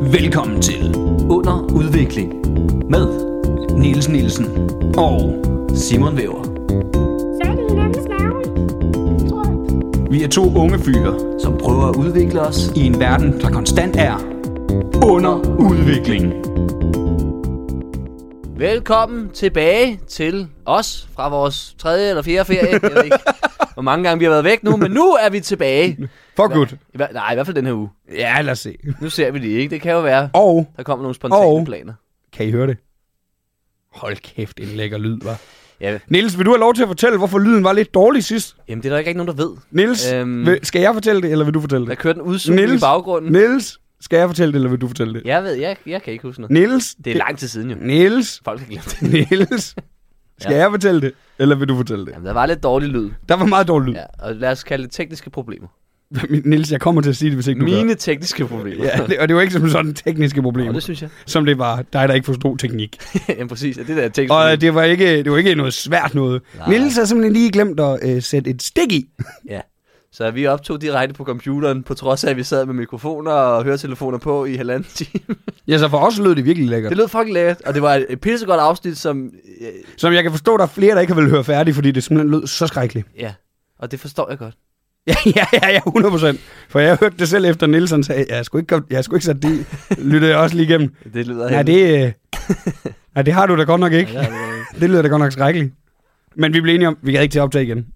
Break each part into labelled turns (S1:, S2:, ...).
S1: Velkommen til Under Udvikling med Niels Nielsen og Simon Væver.
S2: Fat i hinandens navle. Tror jeg.
S1: Vi er to unge fyre
S3: som prøver at udvikle os.
S1: i en verden, der konstant er under udvikling.
S3: Velkommen tilbage til os fra vores tredje eller fjerde ferie. Jeg ved ikke, hvor mange gange vi har været væk nu, men nu er vi tilbage.
S4: For good.
S3: I hver, nej, i hvert fald den her uge.
S4: Ja, lad os se.
S3: Nu ser vi det ikke. Det kan jo være,
S4: Og
S3: der kommer nogle spontane
S4: Og-
S3: planer.
S4: kan I høre det? Hold kæft, en lækker lyd, var.
S3: Ja,
S4: Niels, vil du have lov til at fortælle, hvorfor lyden var lidt dårlig sidst?
S3: jamen, det er der ikke rigtig nogen, der ved.
S4: Niels,
S3: Øhm.
S4: øhm... vil, skal jeg fortælle det, eller vil du fortælle
S3: Der
S4: det?
S3: kører den udsugning i
S4: Niels.
S3: baggrunden.
S4: Niels, skal jeg fortælle det, eller vil du fortælle det?
S3: Jeg ved, jeg, jeg kan ikke huske noget.
S4: Niels,
S3: Det er lang tid siden jo.
S4: Niels,
S3: Folk har glemt det.
S4: Niels, skal
S3: Ja.
S4: ja. jeg fortælle det, eller vil du fortælle det?
S3: Jamen, der var lidt dårlig lyd.
S4: Der var meget dårlig lyd.
S3: Ja, og lad os kalde det tekniske problemer.
S4: Ja. Niels, jeg kommer til at sige det, hvis ikke du gør.
S3: Mine tekniske problemer.
S4: Ja, det, og det var ikke som sådan tekniske
S3: Og
S4: problemer,
S3: det synes jeg.
S4: som det var dig, der ikke forstod teknik.
S3: Jamen præcis, det der er teknisk.
S4: Og det var ikke, det var ikke noget svært noget.
S3: Nej.
S4: Niels har simpelthen lige glemt at øh, sætte et stik i.
S3: Ja. Så vi optog direkte på computeren, på trods af, at vi sad med mikrofoner og høretelefoner på i halvanden time.
S4: Ja, så for os lød det virkelig lækkert.
S3: Det lød fucking lækkert, og det var et et pissegodt afsnit, som... Øh,
S4: Som jeg kan forstå, der er flere, der ikke har vel høre færdigt, fordi det simpelthen lød så skrækkeligt.
S3: ja, og det forstår jeg godt.
S4: Ja, ja, ja, ja, 100%. For jeg hørte det selv efter, Nielsen sagde, jeg skulle ikke, jeg skulle ikke sætte det i." Lyttede jeg også lige igennem.
S3: Det lyder
S4: Nej,
S3: heldigt.
S4: det, øh, nej, det har du da godt nok ikke.
S3: Ja, det er det.
S4: Det lyder da godt nok skrækkeligt. Men vi blev enige om, vi gad ikke til at optage igen.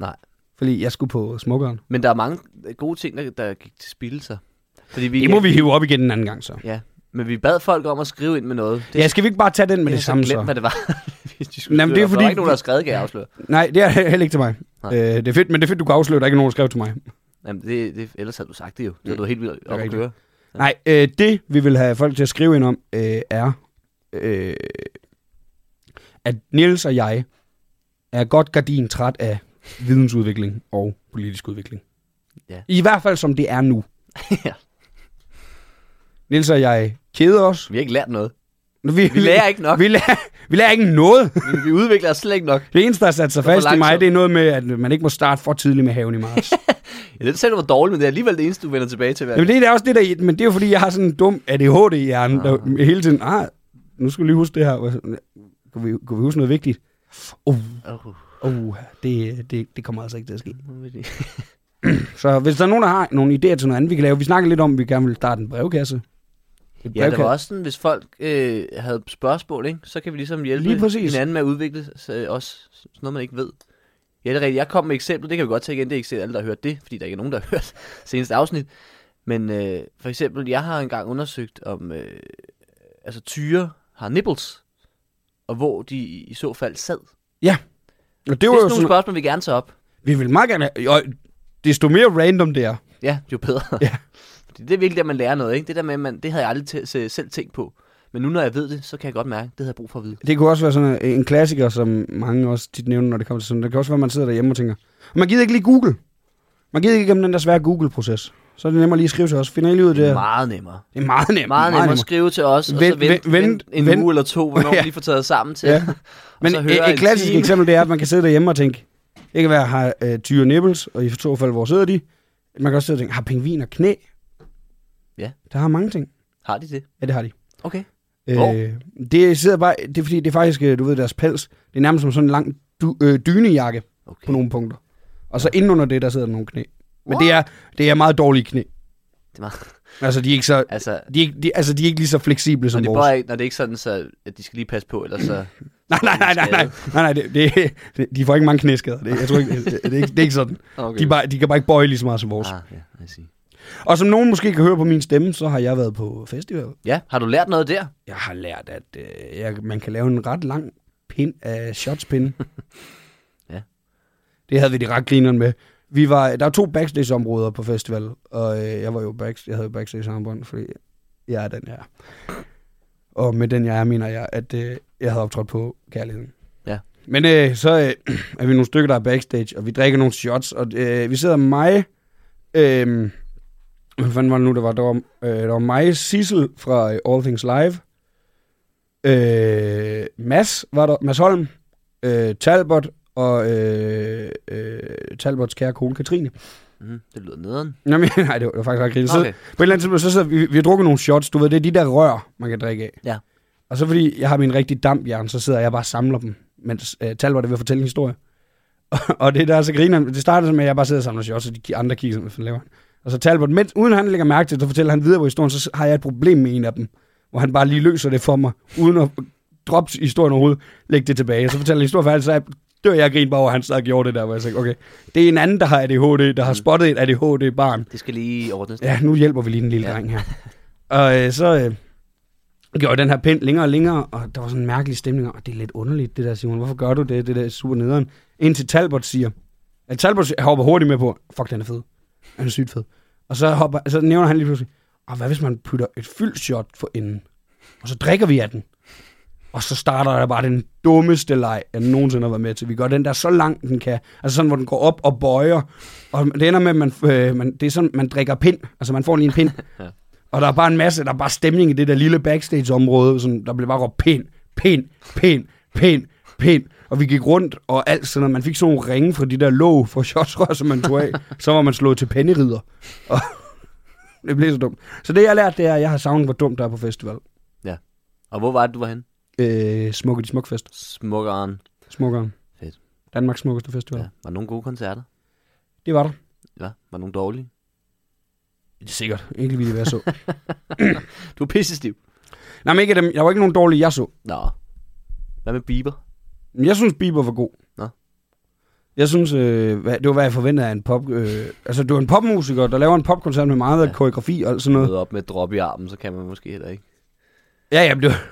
S3: Nej.
S4: Fordi jeg skulle på smukkeren.
S3: Men der er mange gode ting, der, der gik til spil sig. Fordi vi,
S4: Det må vi hive op igen en anden gang så.
S3: Ja, men vi bad folk om at skrive ind med noget. Det
S4: Ja, skal vi ikke bare tage den med det,
S3: jeg har
S4: samme
S3: glemt,
S4: så?
S3: hvad det var. Hvis de skulle
S4: Jamen, det er
S3: skrive op. Der
S4: fordi-
S3: var ikke nogen, der har skrevet, kan jeg afsløre.
S4: Nej, det er heller ikke til mig.
S3: Nej.
S4: Øh, det er fedt, men det er fedt, du kan afsløre, at der ikke er nogen, der skrev til mig.
S3: Jamen, det, det, ellers havde du sagt det jo. Det var du helt vildt op at
S4: rigtigt.
S3: køre.
S4: Ja. Nej, øh, det vi vil have folk til at skrive ind om, øh, er, øh, at Niels og jeg er godt gardin træt af vidensudvikling og politisk udvikling.
S3: Ja.
S4: I hvert fald som det er nu.
S3: Ja.
S4: Niels og jeg keder os.
S3: Vi har ikke lært noget.
S4: Vi,
S3: Vi lærer ikke nok.
S4: Vi lærer, vi lærer ikke noget.
S3: Vi- Vi udvikler os slet ikke nok.
S4: Det eneste, der har sat sig
S3: Det var
S4: fast i mig,
S3: langsomt.
S4: det er noget med, at man ikke må starte for tidligt med haven i marts.
S3: Ja, den sagde du var dårlig, men det er alligevel det eneste, du vender tilbage til hver
S4: Jamen, det er også det der, men det er jo fordi, jeg har sådan en dum ADHD-hjerne, der hele tiden, ah, nu skal vi lige huske det her. Kunne vi, kunne vi huske noget vigtigt? Uh,
S3: Oh,
S4: uh, det, det, det kommer altså ikke til at ske.
S3: nu er det-
S4: Så hvis der er nogen, der har nogle idéer til noget andet, vi kan lave. Vi snakker lidt om, at vi gerne vil starte en brevkasse. Et
S3: ja, det
S4: brevka-
S3: var også sådan, hvis folk øh, havde spørgsmål, ikke, så kan vi ligesom hjælpe
S4: Lige præcis.
S3: hinanden med at udvikle s- øh, også sådan noget, man ikke ved. Ja, det er rigtigt. Jeg kom med eksempler, det kan vi godt tage igen. Det er ikke sikkert alle, der har hørt det, fordi der ikke er nogen, der har hørt seneste afsnit. Men øh, for eksempel, jeg har engang undersøgt om, øh, altså tyre har nipples, og hvor de i i så fald sad. Det,
S4: Og det
S3: er
S4: var jo
S3: sådan nogle
S4: sådan,
S3: spørgsmål, vi gerne tager op.
S4: vi vil meget gerne have, og desto mere random det er.
S3: Ja, jo bedre.
S4: Ja.
S3: Fordi det er virkelig, at man lærer noget, ikke? Det der med, man, det havde jeg aldrig tæ- se- selv tænkt på. Men nu, når jeg ved det, så kan jeg godt mærke, at det havde jeg brug for at vide.
S4: Det kunne også være sådan en klassiker, som mange også tit nævner, når det kommer til sådan Det kan også være, at man sidder derhjemme og tænker, man gider ikke lige Google. Man gider ikke igennem den der svære Google-proces. Så er det nemmere lige at skrive til os. Finder I lige ud af det? her?
S3: Meget nemmere.
S4: Det er meget nemt.
S3: Meget, nemmere at skrive til os, og så
S4: Vent-
S3: vente,
S4: vent-
S3: vent, en
S4: vent.
S3: uge eller to, hvornår vi
S4: Ja.
S3: lige får taget sammen til.
S4: Ja.
S3: og
S4: Men
S3: så
S4: et,
S3: høre en
S4: et klassisk
S3: time.
S4: eksempel, det er, at man kan sidde derhjemme og tænke, det kan være, har øh, tyre nipples, og i to fald, hvor sidder de? Man kan også sidde og tænke, har pingviner knæ?
S3: Ja.
S4: Der har mange ting.
S3: Har de det?
S4: Ja, det har de.
S3: Okay. Hvor?
S4: Øh, det sidder bare, det er fordi, det er faktisk, øh, du ved, deres pels, det er nærmest som sådan en lang du, øh, dynejakke
S3: okay.
S4: på nogle punkter. Og så indenunder det, der sidder nogle knæ. Men det er, det er meget dårlige knæ.
S3: Det er meget,
S4: Altså, de er ikke så...
S3: altså, når
S4: De er, ikke, de, altså, de er ikke lige så fleksible som
S3: det,
S4: vores.
S3: bare, ikke- når det er ikke sådan, så, at de skal lige passe på, ellers så...
S4: Nej, nej, nej, nej, nej, nej, nej det, det, det, de får ikke mange knæskader. Det, jeg tror ikke, det, det, det, er ikke- det er ikke sådan.
S3: Okay.
S4: De, er bare, de kan bare ikke bøje lige så meget som vores.
S3: Ah, ja, lad os sige.
S4: Og som nogen måske kan høre på min stemme, så har jeg været på festival.
S3: ja, har du lært noget der?
S4: Jeg har lært, at øh, jeg, man kan lave en ret lang pind af shotspinde.
S3: Ja.
S4: Det havde vi de ret grineren med. Vi var, der var to backstage-områder på festival, og øh, jeg var jo backstage, jeg havde jo backstage-armbånd, fordi jeg er den her. Og med den jeg er, mener jeg, at øh, jeg havde optrådt på kærligheden.
S3: Ja.
S4: Men øh, så øh, er vi nogle stykker, der er backstage, og vi drikker nogle shots, og øh, vi sidder med mig... Øh, hvad fanden var det nu, der var? Der var, øh, der var mig, Sissel fra øh, All Things Live. Øh, Mads var der. Mads Holm. Øh, Talbot og øh, øh, Talbots kære kone Katrine.
S3: Mm, det lyder nederen.
S4: Nå, men, nej, det var, det var faktisk ret grineren. Okay.
S3: Okay.
S4: Så, på et eller andet tidspunkt, så sidder vi, vi har drukket nogle shots. Du ved, det er de der rør, man kan drikke af.
S3: Ja.
S4: Og så fordi jeg har min rigtig dampjern, så sidder jeg bare og samler dem, mens øh, Tal var det ved at fortælle en historie. og det der er så griner, det startede med, at jeg bare sidder og samler shots, og de ki- andre kigger sådan, hvad fanden laver han? Og så Talbot, mens, uden han lægger mærke til det, så fortæller han videre på historien, så s- har jeg et problem med en af dem, hvor han bare lige løser det for mig, uden at droppe historien overhovedet, lægge det tilbage. Så fortæller han historien færdig, så er jeg, dør jeg grin bare over, at han sad og gjorde det der, hvor jeg sagde, okay, det er en anden, der har ADHD, der har spottet et ADHD-barn,
S3: Det skal lige ordnes.
S4: Ja, nu hjælper vi lige den lille ja.
S3: Ja.
S4: dreng her. Og øh, så øh, gjorde jeg den her pind længere og længere, og der var sådan en mærkelig stemning om, "Åh, det er lidt underligt det der, Simon. Hvorfor gør du det, det der er super nederen? Indtil Talbot siger, at Talbot hopper hurtigt med på, fuck, den er fed. Han er sygt fed. Og så, hopper, så nævner han lige pludselig, og hvad hvis man putter et fyldt shot for enden? Og så drikker vi af den. Og så starter der bare den dummeste leg, jeg nogensinde har været med til. Vi gør den der så lang, den kan. Altså sådan, hvor den går op og bøjer. Og det ender med, at man, øh, man, det er sådan, man drikker pind. Altså man får lige en pind. ja. Og der er bare en masse, der er bare stemning i det der lille backstage-område. Sådan, der blev bare råbt pind, pind, pind, pind, pind. Og vi gik rundt og alt sådan noget. Man fik sådan nogle ringe fra de der låg fra shotsrør, som man tog af. så var man slået til pennerider. Og det blev så dumt. Så det jeg har lært, det er, at jeg har savnet, hvor dumt der er på festival.
S3: Og hvor var det, du var henne?
S4: Øh, smukke de smukfest.
S3: Smukkeren.
S4: Smukkeren.
S3: Fedt.
S4: Danmarks smukkeste
S3: Ja.
S4: festival. Ja.
S3: Var der nogle gode koncerter?
S4: Det var der.
S3: Ja. Var der nogle dårlige?
S4: Det er sikkert. Ikke lige det, hvad jeg så.
S3: Du er pissestiv.
S4: Nej, men ikke af dem. Der var ikke nogen dårlige, jeg så.
S3: Nå. Hvad med Bieber?
S4: Men Jeg synes, Bieber var god.
S3: Nå.
S4: Jeg synes, øh, hvad, det var, hvad jeg forventede af en pop... Øh, altså, du er en popmusiker, der laver en popkoncert med meget ja.
S3: Ja.
S4: koreografi og alt sådan noget.
S3: Møde op med et drop i armen, så kan man måske heller ikke.
S4: Ja, ja, men det var,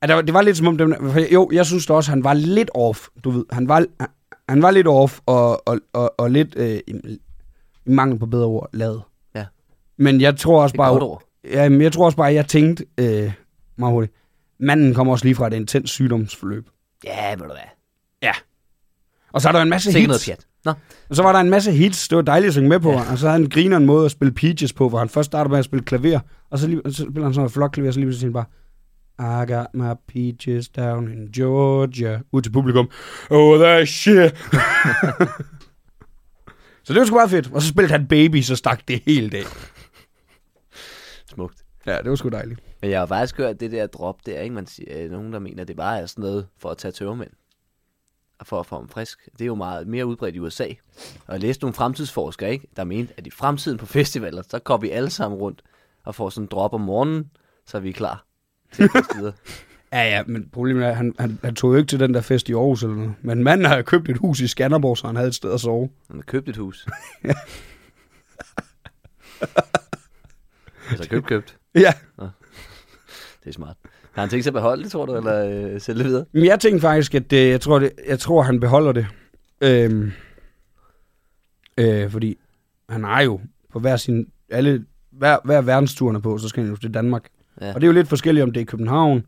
S4: at der, var- det var lidt som om... Dem, for jeg- jo, jeg synes da også, han var lidt off, du ved. Han var, han, han var lidt off og, og, og, og lidt... Øh, i- i mangel på bedre ord, lavet.
S3: Ja.
S4: Men jeg tror også
S3: Det er
S4: bare...
S3: et godt ord.
S4: Ja, men jeg tror også bare, at jeg tænkte øh, meget hurtigt. Manden kommer også lige fra et intens sygdomsforløb.
S3: Ja, ved du hvad.
S4: Og så er der jo en masse
S3: Sikke
S4: hits.
S3: noget pjat. Nå.
S4: Og så var der en masse hits, det var dejligt at synge med på, ja. og så havde han griner en måde at spille Peaches på, hvor han først startede med at spille klaver, og så, lige, så spiller han sådan noget flot klaver, og så lige pludselig siger han bare, I got my peaches down in Georgia. Ud til publikum. Oh, that shit. så det var sgu meget fedt. Og så spillede han Baby, så stak det hele dag.
S3: Smukt.
S4: Ja, det var sgu dejligt.
S3: Men jeg har faktisk hørt det der drop der, ikke? Man siger, øh, nogen der mener, det bare er sådan noget for at tage tørmænd. Og for at få dem frisk. Det er jo meget mere udbredt i USA. Og jeg læste nogle fremtidsforskere, ikke? Der mente, at i fremtiden på festivaler, så går vi alle sammen rundt og får sådan en drop om morgenen, så er vi klar til at gå videre.
S4: Ja, ja, men problemet er, at han, han, han tog jo ikke til den der fest i Aarhus eller noget. Men manden havde købt et hus i Skanderborg, så han havde et sted at sove.
S3: Man har købt et hus. altså købt, købt.
S4: Ja,
S3: Det er smart. Har han tænkt sig at beholde det, tror du, eller øh, sælge det videre?
S4: Men jeg tænkte faktisk, at det, jeg, tror, det, jeg tror, han beholder det. Øhm, øh, fordi han er jo på hver sin... Alle, hver, hver verdenstur, han er på, så skal han jo til Danmark.
S3: Ja.
S4: Og det er jo lidt forskelligt, om det er København,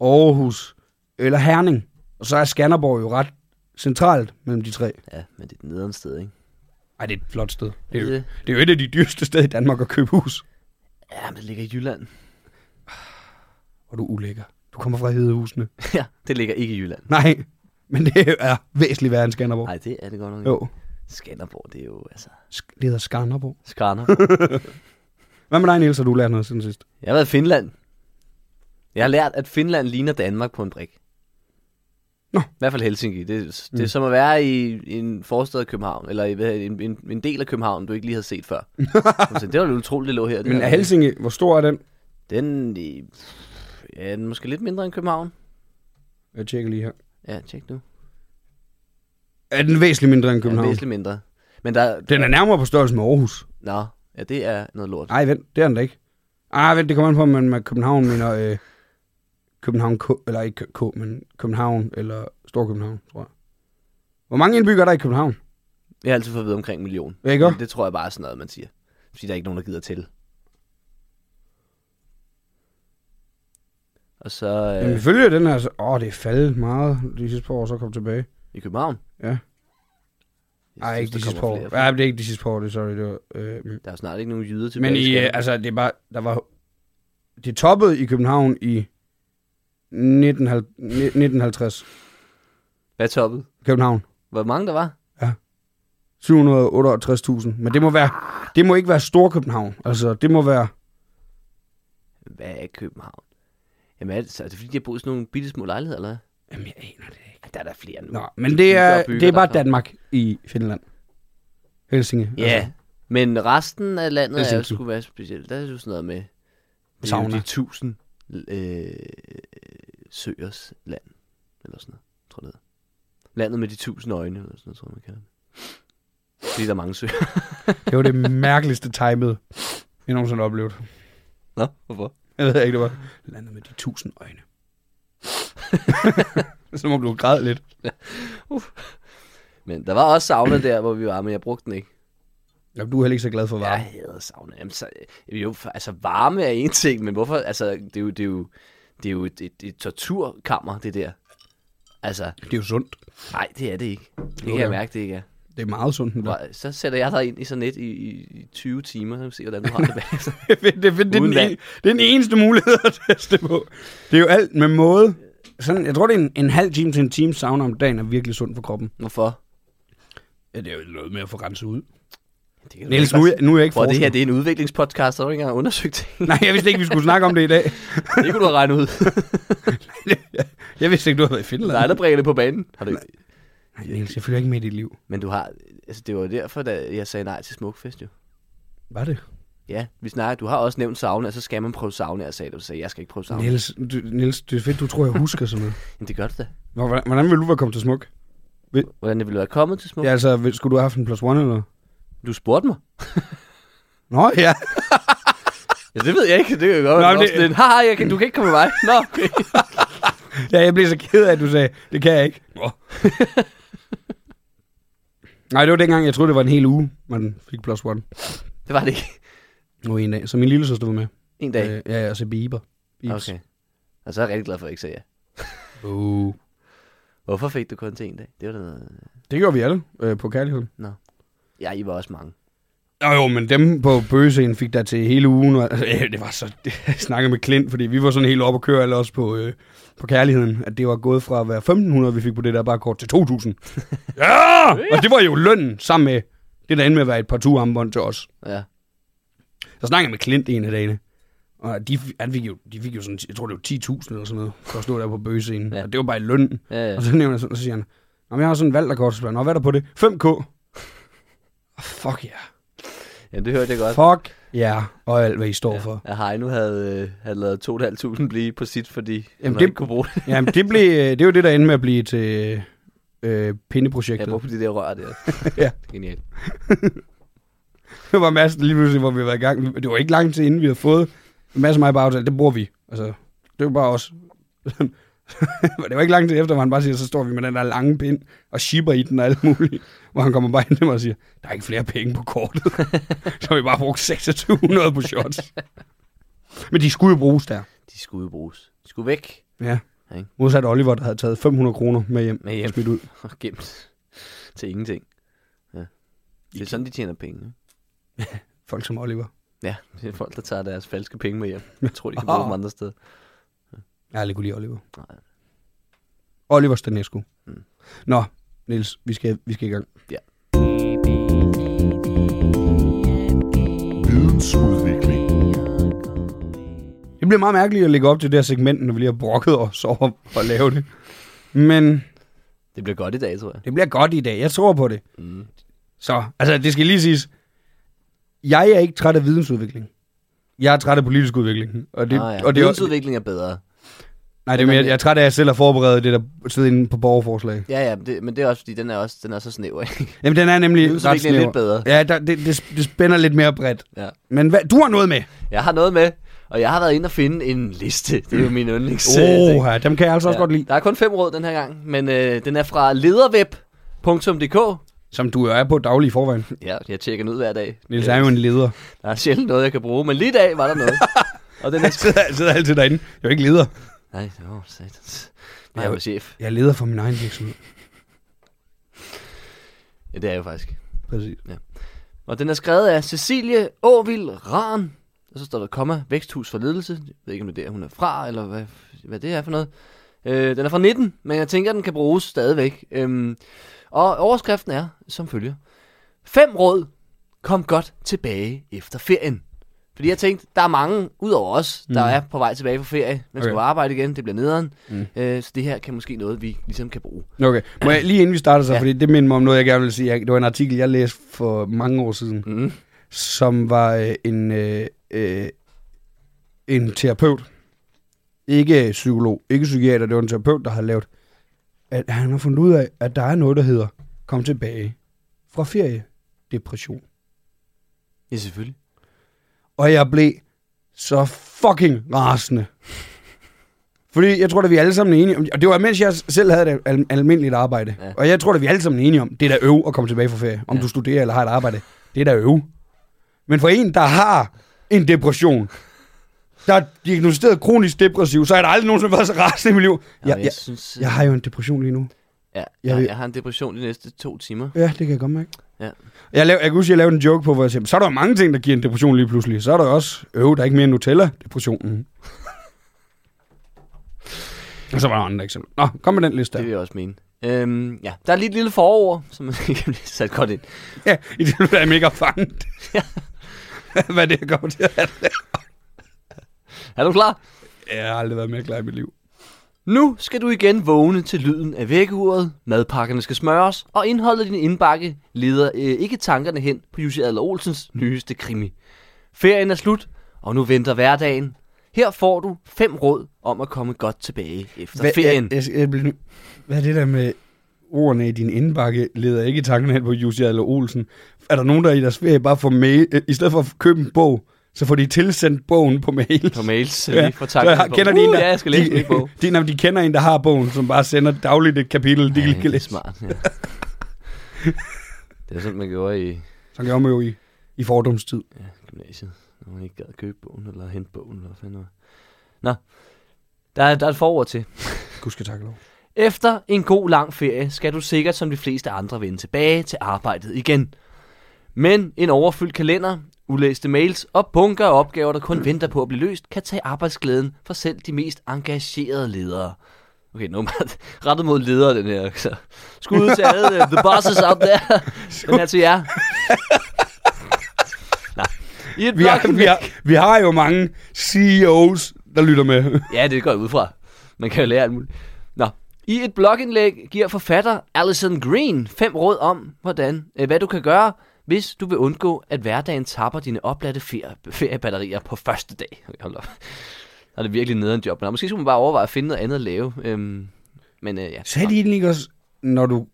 S4: Aarhus eller Herning. Og så er Skanderborg jo ret centralt mellem de tre.
S3: Ja, men det er et nederen sted, ikke?
S4: Ej, det er et flot sted. Det er, jo,
S3: Det-
S4: det er jo et af de dyreste steder i Danmark at købe hus.
S3: Ja, men det ligger i Jylland.
S4: Og du er ulækker. Du kommer fra Hedehusene.
S3: ja, det ligger ikke i Jylland.
S4: Nej, men det er væsentligt værre end Skanderborg.
S3: Nej, det er det godt nok. Jo.
S4: Jo,
S3: Skanderborg, det er jo, altså,
S4: Sk- det hedder Skanderborg.
S3: skarner.
S4: Hvad med dig, Niels, har du lært noget siden sidst?
S3: jeg har været i Finland. Jeg har lært, at Finland ligner Danmark på en brik.
S4: Nå.
S3: I hvert fald Helsinki. Det, det
S4: Mm.
S3: er som at være i, i en forstad af København, eller i, hvad, en, en, en del af København, du ikke lige havde set før. så det var lidt utroligt, det lå her. Det
S4: Men
S3: her.
S4: er Helsinge, hvor stor er den?
S3: Den, i- ja, den er måske lidt mindre end København.
S4: Jeg tjekker lige her.
S3: Ja, tjek nu.
S4: Er den væsentligt mindre end København?
S3: Ja,
S4: Ja,
S3: væsentligt mindre. Men der...
S4: den er nærmere på størrelse med Aarhus.
S3: Nå, ja, det er noget lort.
S4: Nej, vent, det er den da ikke. Ah, vent, det kommer an på, om man med København mener... Øh, København K, eller ikke K, men København eller Storkøbenhavn, tror jeg. Hvor mange indbyggere er der i København?
S3: Jeg har altid fået at vide omkring en million.
S4: Ja, ikke?
S3: Men Det tror jeg bare er sådan noget, man siger. Fordi der er ikke nogen, der gider til. Og så øh,
S4: Jamen, ifølge den her... så- Åh, det er faldet meget de sidste par år, så kom tilbage.
S3: i København.
S4: Ja.
S3: Jeg
S4: Nej, ikke
S3: der
S4: de sidste par
S3: kommer
S4: år.
S3: flere og flere.
S4: Ja, det er ikke de sidste par år, det er sorry. Det var, øh,
S3: Der er jo snart ikke nogen jyder tilbage.
S4: Men i, øh,
S3: Skanderborg.
S4: altså, det er bare, der var, det toppede i København i 19, hal- ni- 1950.
S3: Hvad er toppet?
S4: København.
S3: Hvor mange der var?
S4: 758.000. Men det må, være, det må ikke være Storkøbenhavn. Altså, det må være...
S3: Hvad er København? Jamen, er det, så er det fordi, de har boet i sådan nogle bitte små lejligheder, eller hvad?
S4: Jamen, jeg aner det ikke.
S3: Ej, Der er der flere nu.
S4: Nå, men det er,
S3: bygger
S4: det er bare
S3: derfra.
S4: Danmark i Finland. Helsinge.
S3: Ja, altså. men resten af landet er jo
S4: Helsinki.
S3: skulle være specielt. Der er jo sådan noget med det er jo
S4: Sauna.
S3: de tusind øh, søers land, eller sådan noget, tror jeg det hedder. Landet med de tusind øjne, eller sådan noget, tror jeg, man kalder det. Fordi der er mange søer.
S4: Det var det mærkeligste timet, jeg nogensinde har oplevet.
S3: Nå, hvorfor?
S4: Jeg ved ikke, det var landet med de tusind øjne. Så må du græde lidt.
S3: Men der var også sauna der, hvor vi var, men jeg brugte den ikke.
S4: Jamen, du er heller ikke så glad for varme.
S3: Jeg hader sauna. Jamen, så, jo, altså varme er en ting, men hvorfor? Altså, det er jo, det er jo, det er jo et, et, et torturkammer, det der. Altså,
S4: Det er jo sundt.
S3: nej, det er det ikke. Det kan
S4: Jo,
S3: jeg
S4: det er.
S3: mærke, det ikke er.
S4: Det er meget sundt. endda.
S3: Hvor- Så sætter jeg dig ind i sådan et i, i, i 20 timer, så vi se, hvordan du har det bagefter.
S4: det, det, det, det, er
S3: Uden
S4: den,
S3: vand.
S4: en- det er den eneste mulighed at teste på. Det er jo alt med måde. Sådan, jeg tror, det er en, en halv time til en time sauna om dagen er virkelig sundt for kroppen.
S3: Hvorfor?
S4: Ja, det er jo noget med at få renset ud.
S3: Det kan du
S4: Niels,
S3: ikke
S4: nu,
S3: bare
S4: er jeg- nu er jeg ikke
S3: sige. Prøv, det her
S4: forsker.
S3: det er en udviklingspodcast, så har du ikke engang undersøgt ting.
S4: Nej, jeg vidste ikke, vi skulle snakke om det i dag.
S3: Det kunne du have regnet ud.
S4: Jeg vidste ikke, du havde været i
S3: Der er
S4: Finland.
S3: der brækkerne på banen. Har du...
S4: Nej, Niels, jeg følger ikke med i dit liv.
S3: Men du har... Altså, det var derfor, da jeg sagde nej til Smukfest, jo.
S4: Var det?
S3: Ja, vi snakker, du har også nævnt sauna, og så skal man prøve sauna, og sagde du, så sagde, jeg, jeg skal ikke prøve sauna.
S4: Niels, du, Niels, det er fedt, du tror, jeg husker sådan noget.
S3: Men det gør du da.
S4: Hvor- Hvordan, hvordan ville du være kommet til smuk?
S3: Hvordan det ville være kommet til smuk?
S4: Ja,
S3: Ja.
S4: altså, vil- skulle du have haft en plus one eller?
S3: Du spurgte mig.
S4: Nå, ja.
S3: Ja, det ved jeg ikke. Det kan godt
S4: Nå,
S3: være.
S4: men
S3: Det...
S4: det-
S3: Sådan, Haha, jeg kan, du kan ikke komme med mig. Nå, okay.
S4: Ja, jeg blev så ked af, at du sagde, det kan jeg ikke. Nå. Nej, det var dengang, jeg troede, det var en hel uge, man fik plus one.
S3: Det var det ikke.
S4: Nu en dag. Så min lille søster var med.
S3: En dag.
S4: Øh, ja, ja, og så Bieber. Biebs.
S3: Okay. Og så er jeg rigtig glad for, at jeg ikke sagde ja.
S4: Uh.
S3: Hvorfor fik du kun til en dag? Det var da noget...
S4: Det gjorde vi alle øh, på kærligheden.
S3: Ja, I var også mange.
S4: Nå jo, men dem på bøgescenen fik der til hele ugen. Og, altså, øh, det var så... Jeg snakkede med Klint, fordi vi var sådan helt oppe at køre alle os på, øh, på kærligheden. At det var gået fra at være 1500, vi fik på det der bare kort, til 2000. ja! Og det var jo lønnen sammen med det, der endte med at være et par turarmbånd til os.
S3: Ja.
S4: Så snakkede jeg med Klint en af dagene. Og de, han fik jo, de fik jo sådan, jeg tror det var 10.000 eller sådan noget, for at stå der på bøgescenen.
S3: Ja.
S4: Ja. Og det var bare i lønnen.
S3: Ja, ja.
S4: Og så nævner jeg sådan, og så siger han, Nå, men jeg har sådan valgt kort spørge, Nå, hvad er der på det? 5K. Oh, fuck ja.
S3: ja det hørte jeg godt.
S4: Fuck ja, yeah. og alt hvad I står for.
S3: At Heino havde, øh, havde lavet 2.500 blive på sit, fordi Jamen,
S4: Jamen,
S3: han
S4: det-
S3: ikke kunne bruge det.
S4: Jamen, det, blev, øh, det er jo det, der endte med at blive til øh,
S3: Jeg
S4: pindeprojektet.
S3: brugte de der rør der.
S4: Ja.
S3: Genialt.
S4: det var masser lige pludselig, hvor vi var i gang. Vi- Det var ikke lang tid inden, vi havde fået masser af mig bare aftalt, det bruger vi. Altså, det var bare os. det var ikke lang tid efter, hvor han bare siger, så står vi med den der lange pind og shipper i den og alt muligt. Hvor han kommer bare ind til mig og siger, der er ikke flere penge på kortet. så har vi bare brugt 2600 på shots. Men de skulle jo bruges der.
S3: De skulle jo bruges. De skulle væk
S4: Ja.
S3: Ikke?
S4: Modsat Oliver, der havde taget 500 kroner med hjem.
S3: Med hjem.
S4: og Smidt ud.
S3: og gemt til ingenting. Ja. Det er sådan, de tjener penge. ikke?
S4: Folk som Oliver.
S3: Ja, det er folk, der tager deres falske penge med hjem. Jeg tror, de kan
S4: Ah.
S3: bruge dem andre steder.
S4: Jeg har aldrig kunne lide Oliver.
S3: Nej.
S4: Oliver Stanescu.
S3: Mm.
S4: Mm. Nå, Niels, vi skal, vi skal i gang.
S5: Vidensudvikling.
S4: Det bliver meget mærkeligt at lægge op til det her segment, når vi lige har brokket os over at lave det. Men
S3: Det bliver godt i dag, tror jeg.
S4: det bliver godt i dag. Jeg tror på det.
S3: Mm.
S4: Så, altså, det skal lige siges. Jeg er ikke træt af vidensudvikling. Jeg er træt af politisk udvikling. Og det,
S3: ah, ja.
S4: og det, er-
S3: Vidensudvikling er bedre.
S4: nej, det er mere, jeg er træt af, at jeg selv har forberedt det der sidde inde på borgerforslag.
S3: Ja, ja, men det, men det er også, fordi den er, også, den er så snæver. ikke?
S4: Jamen, den er nemlig ret
S3: Vidensudvikling er lidt
S4: snæver.
S3: bedre.
S4: Ja, der, det, det, det, spænder lidt mere bredt.
S3: Ja.
S4: Men hvad, du har noget med.
S3: Jeg har noget med, og jeg har været inde og finde en liste. Det er jo min yndlings... øh, ting.
S4: Åh, oh, dem kan jeg altså også godt lide.
S3: Der er kun fem råd den her gang, men øh, den er fra lederweb.dk.
S4: Som du jo er på daglig i forvejen.
S3: Ja, jeg tjekker den ud hver dag.
S4: Niels
S3: Øh,
S4: er jo en leder.
S3: Der er sjældent noget, jeg kan bruge, men lige i dag var der noget. og den er...
S4: Jeg sidder, jeg sidder altid derinde. Jeg er jo ikke leder.
S3: Nej, åh, oh, satans.
S4: Nej,
S3: Jeg er jo
S4: hvor-
S3: chef.
S4: Jeg er leder for min egen virksomhed.
S3: Ja, det er jeg jo faktisk.
S4: Præcis.
S3: Og den er skrevet af Cecilie Åvild Ran. Og så står der komma, væksthus for ledelse. Jeg ved ikke, om det er der, hun er fra, eller hvad, hvad det er for noget. Øh, den er fra 19, men jeg tænker, den kan bruges stadigvæk. Øhm, og overskriften er som følger. Fem råd. Kom godt tilbage efter ferien. Fordi jeg tænkte, der er mange, udover os, der
S4: Mm.
S3: er på vej tilbage fra ferie. Man skal
S4: Okay.
S3: okay. arbejde igen, det bliver nederen.
S4: Mm.
S3: Mm. Øh, så det her kan måske noget, vi ligesom kan bruge.
S4: Okay, må jeg lige inden vi starter så, ja.
S3: Ja.
S4: fordi det minder mig om noget, jeg gerne vil sige. Jeg- Det var en artikel, jeg læste for mange år siden,
S3: Mm.
S4: som var øh, en, øh, øh, en terapeut. Ikke øh, psykolog, ikke psykiater, det var en terapeut, der har lavet, at han har fundet ud af, at der er noget, der hedder, kom tilbage fra feriedepression.
S3: Ja, selvfølgelig.
S4: Og jeg blev så fucking rasende. Fordi jeg tror, at vi alle sammen er enige om, og det var mens jeg selv havde et al- almindeligt arbejde. Ja.
S3: Ja.
S4: Og jeg tror, at vi alle sammen er enige om, det er da øv at komme tilbage fra ferie. Om ja.
S3: Ja.
S4: du studerer eller har et arbejde, det er da øv. Men for en, der har en depression, der er diagnosticeret kronisk depressiv, så har jeg da aldrig nogensinde været så rasende i mit liv. Jeg,
S3: Jamen,
S4: jeg,
S3: synes, øh,
S4: jeg har jo en depression lige nu.
S3: ja,
S4: jeg vil-
S3: jeg, jeg har en depression de næste to timer.
S4: Ja, det kan jeg godt mærke.
S3: Ja.
S4: Jeg, lav, jeg kan huske, jeg lavede en joke på, hvor jeg sagde, så er der jo mange ting, der giver en depression lige pludselig. Så er der jo også, øv, der er ikke mere end Nutella-depressionen. Og så var der andre eksempler. Nå, kom med den liste
S3: Det vil
S4: der.
S3: jeg også mene. Øhm, ja, der er lige et lille forår, som man kan blive sat godt ind.
S4: Ja, i det er jeg mega fanget. Hvad det kommer til at
S3: Er du klar?
S4: Jeg har aldrig været mere klar i mit liv.
S3: Nu skal du igen vågne til lyden af vækkeuret, madpakkerne skal smøres, og indholdet i din indbakke leder øh, ikke tankerne hen på Jussi Adler Olsens nyeste krimi. Ferien er slut, og nu venter hverdagen. Her får du fem råd om at komme godt tilbage efter Hva, ferien.
S4: Jeg, jeg, jeg bliver nu- Hvad er det der med ordene i din indbakke, leder ikke tanken hen på Jussi Adler Olsen? Er der nogen, der i deres ferie bare får mail, øh, i stedet for at købe en bog, så får de tilsendt bogen på mail?
S3: På mails, ja, lige for
S4: så jeg har,
S3: tanken.
S4: kender
S3: på.
S4: de en,
S3: uh,
S4: der,
S3: ja, jeg skal læse
S4: de,
S3: min bog.
S4: De, nej, men de kender en, der har bogen, som bare sender dagligt et kapitel, de
S3: Ja,
S4: ja, kan
S3: det er
S4: læse.
S3: smart, ja. Det er sådan, man gjorde i
S4: Så gør man jo i, i fordomstid.
S3: ja, gymnasiet, når man ikke gad købe bogen, eller hente bogen, eller hvad fanden det var. Nå, der er, der er et forord til.
S4: Gud skal takke lov.
S3: Efter en god lang ferie skal du sikkert som de fleste andre vende tilbage til arbejdet igen. Men en overfyldt kalender, ulæste mails og bunker af opgaver, der kun venter på at blive løst, kan tage arbejdsglæden fra selv de mest engagerede ledere. Okay, nu er man rettet mod ledere, den her. Så. Skud ud til alle øh, the bosses out there. Den er til jer. Nå. I et
S4: Vi har, vi,
S3: blogindlæg-
S4: har, vi har jo mange CEOs, der lytter med.
S3: Ja, det går jeg ud fra. Man kan jo lære alt muligt. Nå. I et blogindlæg giver forfatter Alison Green fem råd om, hvordan, øh, hvad du kan gøre, hvis du vil undgå, at hverdagen tapper dine opladte ferie, feriebatterier på første dag. Okay, hold op. Så er det virkelig nederen job. Men måske skulle man bare overveje at finde noget andet at lave. Øhm, men øh, ja.
S4: Sagde de egentlig ikke også, når du...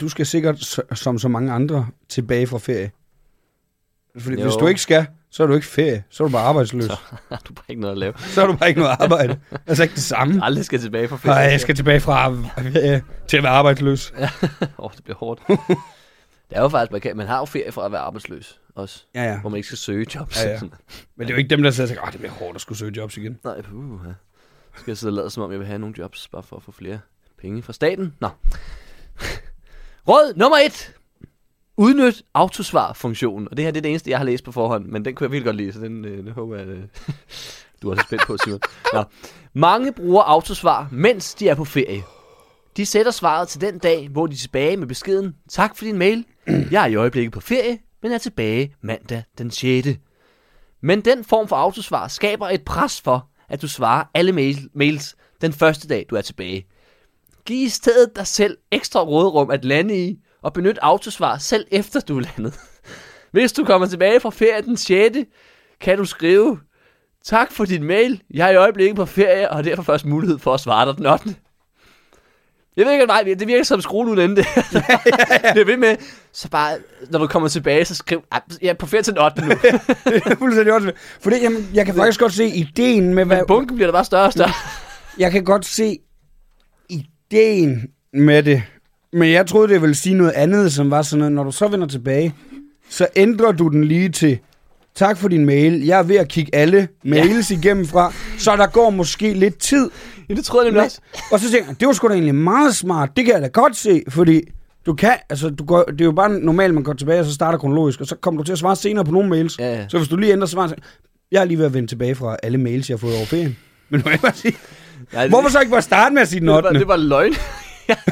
S4: Du skal sikkert, s- som så mange andre, tilbage fra ferie. Fordi jo.
S3: Jo.
S4: hvis du ikke skal, så er du ikke ferie. Så er du bare arbejdsløs. Så,
S3: Så har du bare ikke noget at lave.
S4: så er du bare ikke noget arbejde. Altså ikke det samme.
S3: Aldrig skal tilbage fra
S4: Nej,
S3: ferie.
S4: jeg skal tilbage fra ferie til at være arbejdsløs.
S3: Åh, oh, det bliver hårdt. det er jo faktisk, man, kan, man har jo ferie fra at være arbejdsløs også.
S4: Ja, ja.
S3: Hvor man ikke skal søge jobs.
S4: Ja, ja. Men det er jo ikke dem, der sidder og tænker, "Åh, det bliver hårdt at skulle søge jobs igen.
S3: Øhm, Nej, puh, ja. Så skal jeg sidde og lade, som om jeg vil have nogle jobs, bare for at få flere penge fra staten? Nå. Råd nummer et. Udnyt autosvar-funktionen. Og det her det er det eneste, jeg har læst på forhånd, men den kunne jeg virkelig godt lide, så den, øh, den håber jeg, at, øh, du er så spændt på, Simon. Nå. Mange bruger autosvar, mens de er på ferie. De sætter svaret til den dag, hvor de er tilbage med beskeden, tak for din mail, jeg er i øjeblikket på ferie, men er tilbage mandag den 6. Men den form for autosvar skaber et pres for, at du svarer alle mail- mails den første dag, du er tilbage. Giv i stedet dig selv ekstra råderum at lande i, og benyt autosvar selv efter du er landet. Hvis du kommer tilbage fra ferie den 6., kan du skrive, tak for din mail, jeg er i øjeblikket på ferie, og har derfor først mulighed for at svare dig den 8. Jeg ved ikke, nej, det virker som skruen uden ende. det er ved med, så bare, når du kommer tilbage, så skriv, "Ej, jeg er på ferie til den 8. nu.
S4: Det er fuldstændig åndssvagt. Fordi jamen, jeg kan faktisk godt se ideen med, hvad,
S3: Men bunken bliver da bare større og større.
S4: jeg kan godt se ideen med det. Men jeg troede, det ville sige noget andet, som var sådan noget, når du så vender tilbage, så ændrer du den lige til, tak for din mail, jeg er ved at kigge alle mails ja. igennem fra, så der går måske lidt tid.
S3: Ja, det troede jeg nemlig også.
S4: Og så tænker jeg, det var sgu da egentlig meget smart, det kan jeg da godt se, fordi du kan, altså du går, det er jo bare normalt, man går tilbage, og så starter kronologisk, og så kommer du til at svare senere på nogle mails.
S3: Ja, ja.
S4: Så hvis du lige ændrer svaret, så- jeg er lige ved at vende tilbage fra alle mails, jeg har fået over ferien. Men må jeg bare sige,
S3: Nej, det,
S4: Hvorfor så ikke bare starte med at sige den
S3: det, var,
S4: 8.
S3: det var løgn.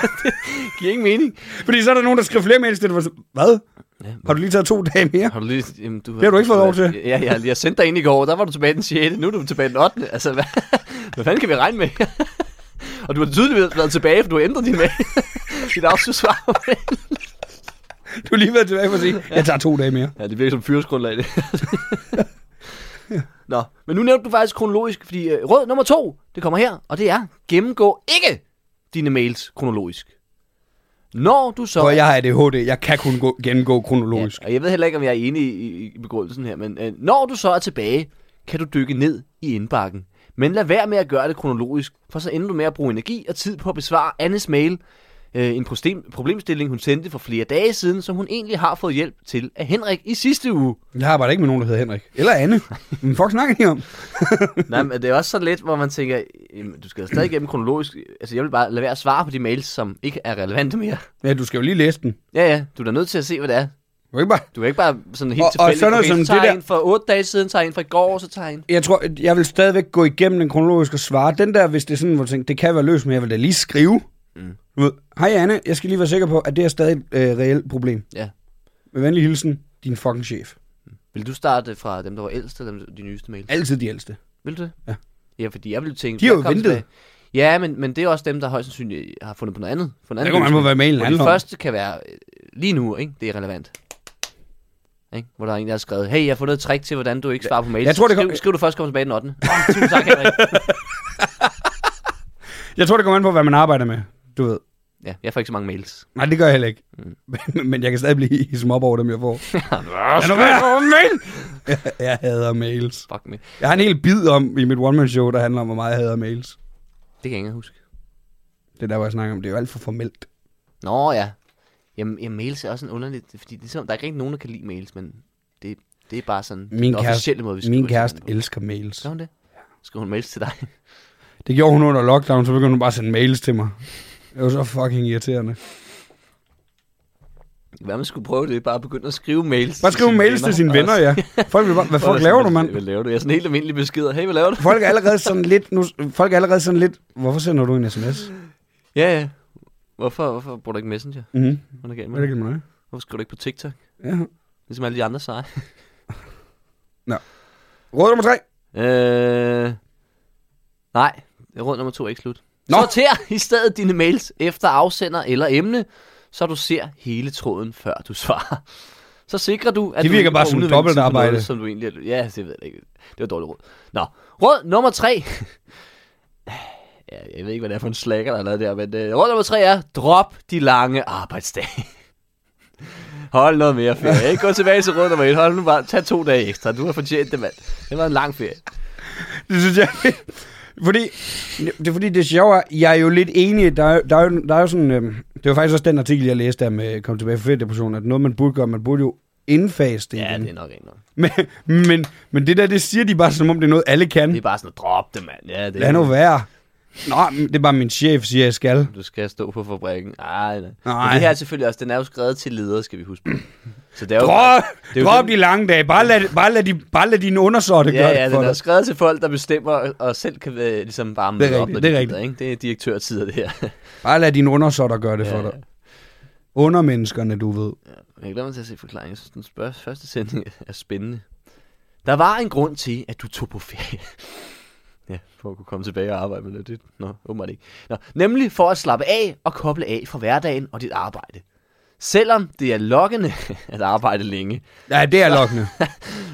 S3: giver ingen mening.
S4: Fordi så er der nogen, der skriver flere mails til dig. hvor så- Hvad?
S3: Ja,
S4: Har du lige taget to dage mere?
S3: har du lige, jamen, du, det
S4: har du ikke fået lov til.
S3: Ja, jeg, jeg sendte dig ind i går, der var du tilbage den 6. Nu er du tilbage den 8. Altså, hvad, hvad fanden kan vi regne med? Og du har tydeligvis været tilbage, for du har ændret din mail. Dit afslutningssvar.
S4: Du har lige været tilbage for at sige, jeg tager to dage mere.
S3: Ja, det virker som fyringsgrundlag, det. Nå, men nu nævnte du faktisk kronologisk, fordi øh, råd nummer to, det kommer her, og det er, gennemgå ikke dine mails kronologisk. Når du så...
S4: Prøv, jeg har ADHD. Jeg kan kun gå, gennemgå kronologisk.
S3: Ja, og jeg ved heller ikke, om jeg er enig i, i begrundelsen her, men øh, når du så er tilbage, kan du dykke ned i indbakken. Men lad være med at gøre det kronologisk, for så ender du med at bruge energi og tid på at besvare Annes mail. Øh, en prostem- problemstilling, hun sendte for flere dage siden, som hun egentlig har fået hjælp til af Henrik i sidste uge.
S4: Jeg arbejder ikke med nogen, der hedder Henrik. Eller Anne. Men fuck snakker I om?
S3: Nej, men det er også så let, hvor man tænker, "Jamen, du skal stadig gennem kronologisk. Altså, jeg vil bare lade være at svare på de mails, som ikke er relevante mere.
S4: Ja, du skal jo lige læse den.
S3: Ja, ja, du er da nødt til at se, hvad det er.
S4: Du kan ikke bare...
S3: Du er ikke bare sådan helt
S4: Og- og
S3: tilfældig.
S4: sådan noget
S3: okay, så
S4: som
S3: tager
S4: det
S3: jeg
S4: der-
S3: en for otte dage siden, tager jeg en fra i går, så tager jeg en
S4: Jeg tror, jeg vil stadigvæk gå igennem den kronologiske svar. Den der, hvis det er sådan, hvor du tænker, det kan være løs, men jeg vil da lige skrive. Mm. Du ved, hej Anne, jeg skal lige være sikker på, at det er stadig et øh, reelt problem.
S3: Ja.
S4: Med venlig hilsen, din fucking chef.
S3: Vil du starte fra dem, der var ældst, eller dem, de nyeste mail?
S4: Altid de ældste.
S3: Vil du det?
S4: Ja.
S3: Ja, fordi jeg ville tænke...
S4: De har jo
S3: jeg kom
S4: ventet.
S3: tilbage- Ja, men, men det er også dem, der højst sandsynligt har fundet på noget andet. For en
S4: Der
S3: anden
S4: kommer man på,
S3: løsning.
S4: hvad mailen
S3: Hvor
S4: handler
S3: de
S4: om.
S3: første kan være øh, lige nu, ikke? Det er relevant. Ikke? Hvor der er en, der har skrevet, hey, jeg har fundet et trick til, hvordan du ikke svarer på mails.
S4: Jeg tror, det kom-
S3: skriv, skriv, du først kommer tilbage den 8. Oh, tusind tak, Henrik.
S4: Jeg tror, det kommer an på, hvad man arbejder med. Du ved.
S3: ja, jeg får ikke så mange mails.
S4: Nej, det gør jeg heller ikke. Mm. Men, men jeg kan stadig blive hisset op over dem, jeg får. Lad nu være over mail! Jeg, jeg hader mails.
S3: Fuck me.
S4: Jeg har en hel bid om i mit one-man-show, der handler om, hvor meget jeg hader mails.
S3: Det kan jeg ikke engang huske.
S4: Det er der, hvor jeg snakker om. Det er jo alt for formelt.
S3: Nå ja. Jamen, ja, mails er også en underligt, fordi det er som, der er ikke rigtig nogen, der kan lide mails, men det, det er bare sådan
S4: Min
S3: den
S4: kæreste,
S3: officielle måde, vi skriver
S4: min
S3: til
S4: kæreste
S3: hinanden på.
S4: elsker mails.
S3: Skal hun det? Skal hun mails til dig?
S4: Det gjorde hun under lockdown, så begyndte hun bare at sende mails til mig. Det var så fucking irriterende.
S3: Hvad man skulle prøve, det er bare at begynde at skrive mails.
S4: Bare skrive mails til sine venner, ja. Folk vil bare, hvad fuck laver du, mand?
S3: Hvad laver du? Jeg er sådan helt almindelig beskeder. Hey, hvad laver du?
S4: Folk er allerede sådan lidt, nu, folk er allerede sådan lidt, hvorfor sender du en sms?
S3: Ja, ja. Hvorfor, hvorfor bruger du ikke Messenger?
S4: Mhm.
S3: Hvad er der galt
S4: Hvad er det,
S3: med
S4: galt med dig?
S3: det? Hvorfor skriver du ikke på TikTok?
S4: Ja.
S3: Ligesom alle de andre seje.
S4: Råd nummer tre.
S3: Øh... Nej, råd nummer to er ikke slut.
S4: Nå.
S3: Nå. Sorter i stedet dine mails efter afsender eller emne, så du ser hele tråden, før du svarer. Så sikrer du, at
S4: Det
S3: du
S4: virker
S3: ikke
S4: bare
S3: bruger
S4: som
S3: unødvendig tid på
S4: dobbeltarbejde.
S3: Noget, som du egentlig er... Ja, det ved jeg ikke. Det var dårligt råd. Nå, råd nummer tre. ja, jeg ved ikke, hvad det er for en slækker, der er lavet der, men øh, råd nummer tre er, drop de lange arbejdsdage. Hold noget mere ferie. Ikke gå tilbage til råd nummer et. Hold nu bare, tag to dage ekstra. Du har fortjent det, mand. Det var en lang ferie.
S4: Det synes jeg. Fordi, det er fordi, det sjove er, jeg er jo lidt enig, der er, der er, jo, der er jo sådan, øhm, det var faktisk også den artikel, jeg læste der med kom tilbage fra feriedepression, at noget man burde gøre, man burde jo indfase det,
S3: Ja,
S4: igen.
S3: det er nok ikke noget.
S4: Men, men, men det der, det siger de bare, som om det er noget, alle kan.
S3: Det er bare sådan at droppe det, mand. Ja, det
S4: Lad nu være. Nå, men det er bare min chef, siger jeg skal.
S3: Du skal stå på fabrikken. Ej, nej.
S4: Nej.
S3: Men det her er selvfølgelig også, den er jo skrevet til ledere, skal vi huske. på. Så det er jo,
S4: Drop,
S3: det er jo
S4: drop
S3: den-
S4: de lange dage. Bare lad, bare lad, de, bare lad dine undersorte
S3: Ja,
S4: gøre
S3: ja,
S4: det
S3: den
S4: for
S3: er
S4: dig.
S3: skrevet til folk, der bestemmer og- og selv kan øh, ligesom bare
S4: Det er
S3: møde op,
S4: rigtigt,
S3: når
S4: det er
S3: de
S4: rigtigt.
S3: gider, ikke? Det er direktørtider, det her.
S4: Bare lad dine undersorter gøre det for
S3: Ja.
S4: dig. Undermenneskerne, du ved.
S3: Jeg glæder mig til at se forklaringen. Jeg synes, den spørg- første sætning er spændende. Der var en grund til, at du tog på ferie. ja, for at kunne komme tilbage og arbejde med det. det. Nå, åbenbart ikke. Nå, nemlig for at slappe af og koble af fra hverdagen og dit arbejde. Selvom det er lokkende at arbejde længe,
S4: Ja, det er lokkende.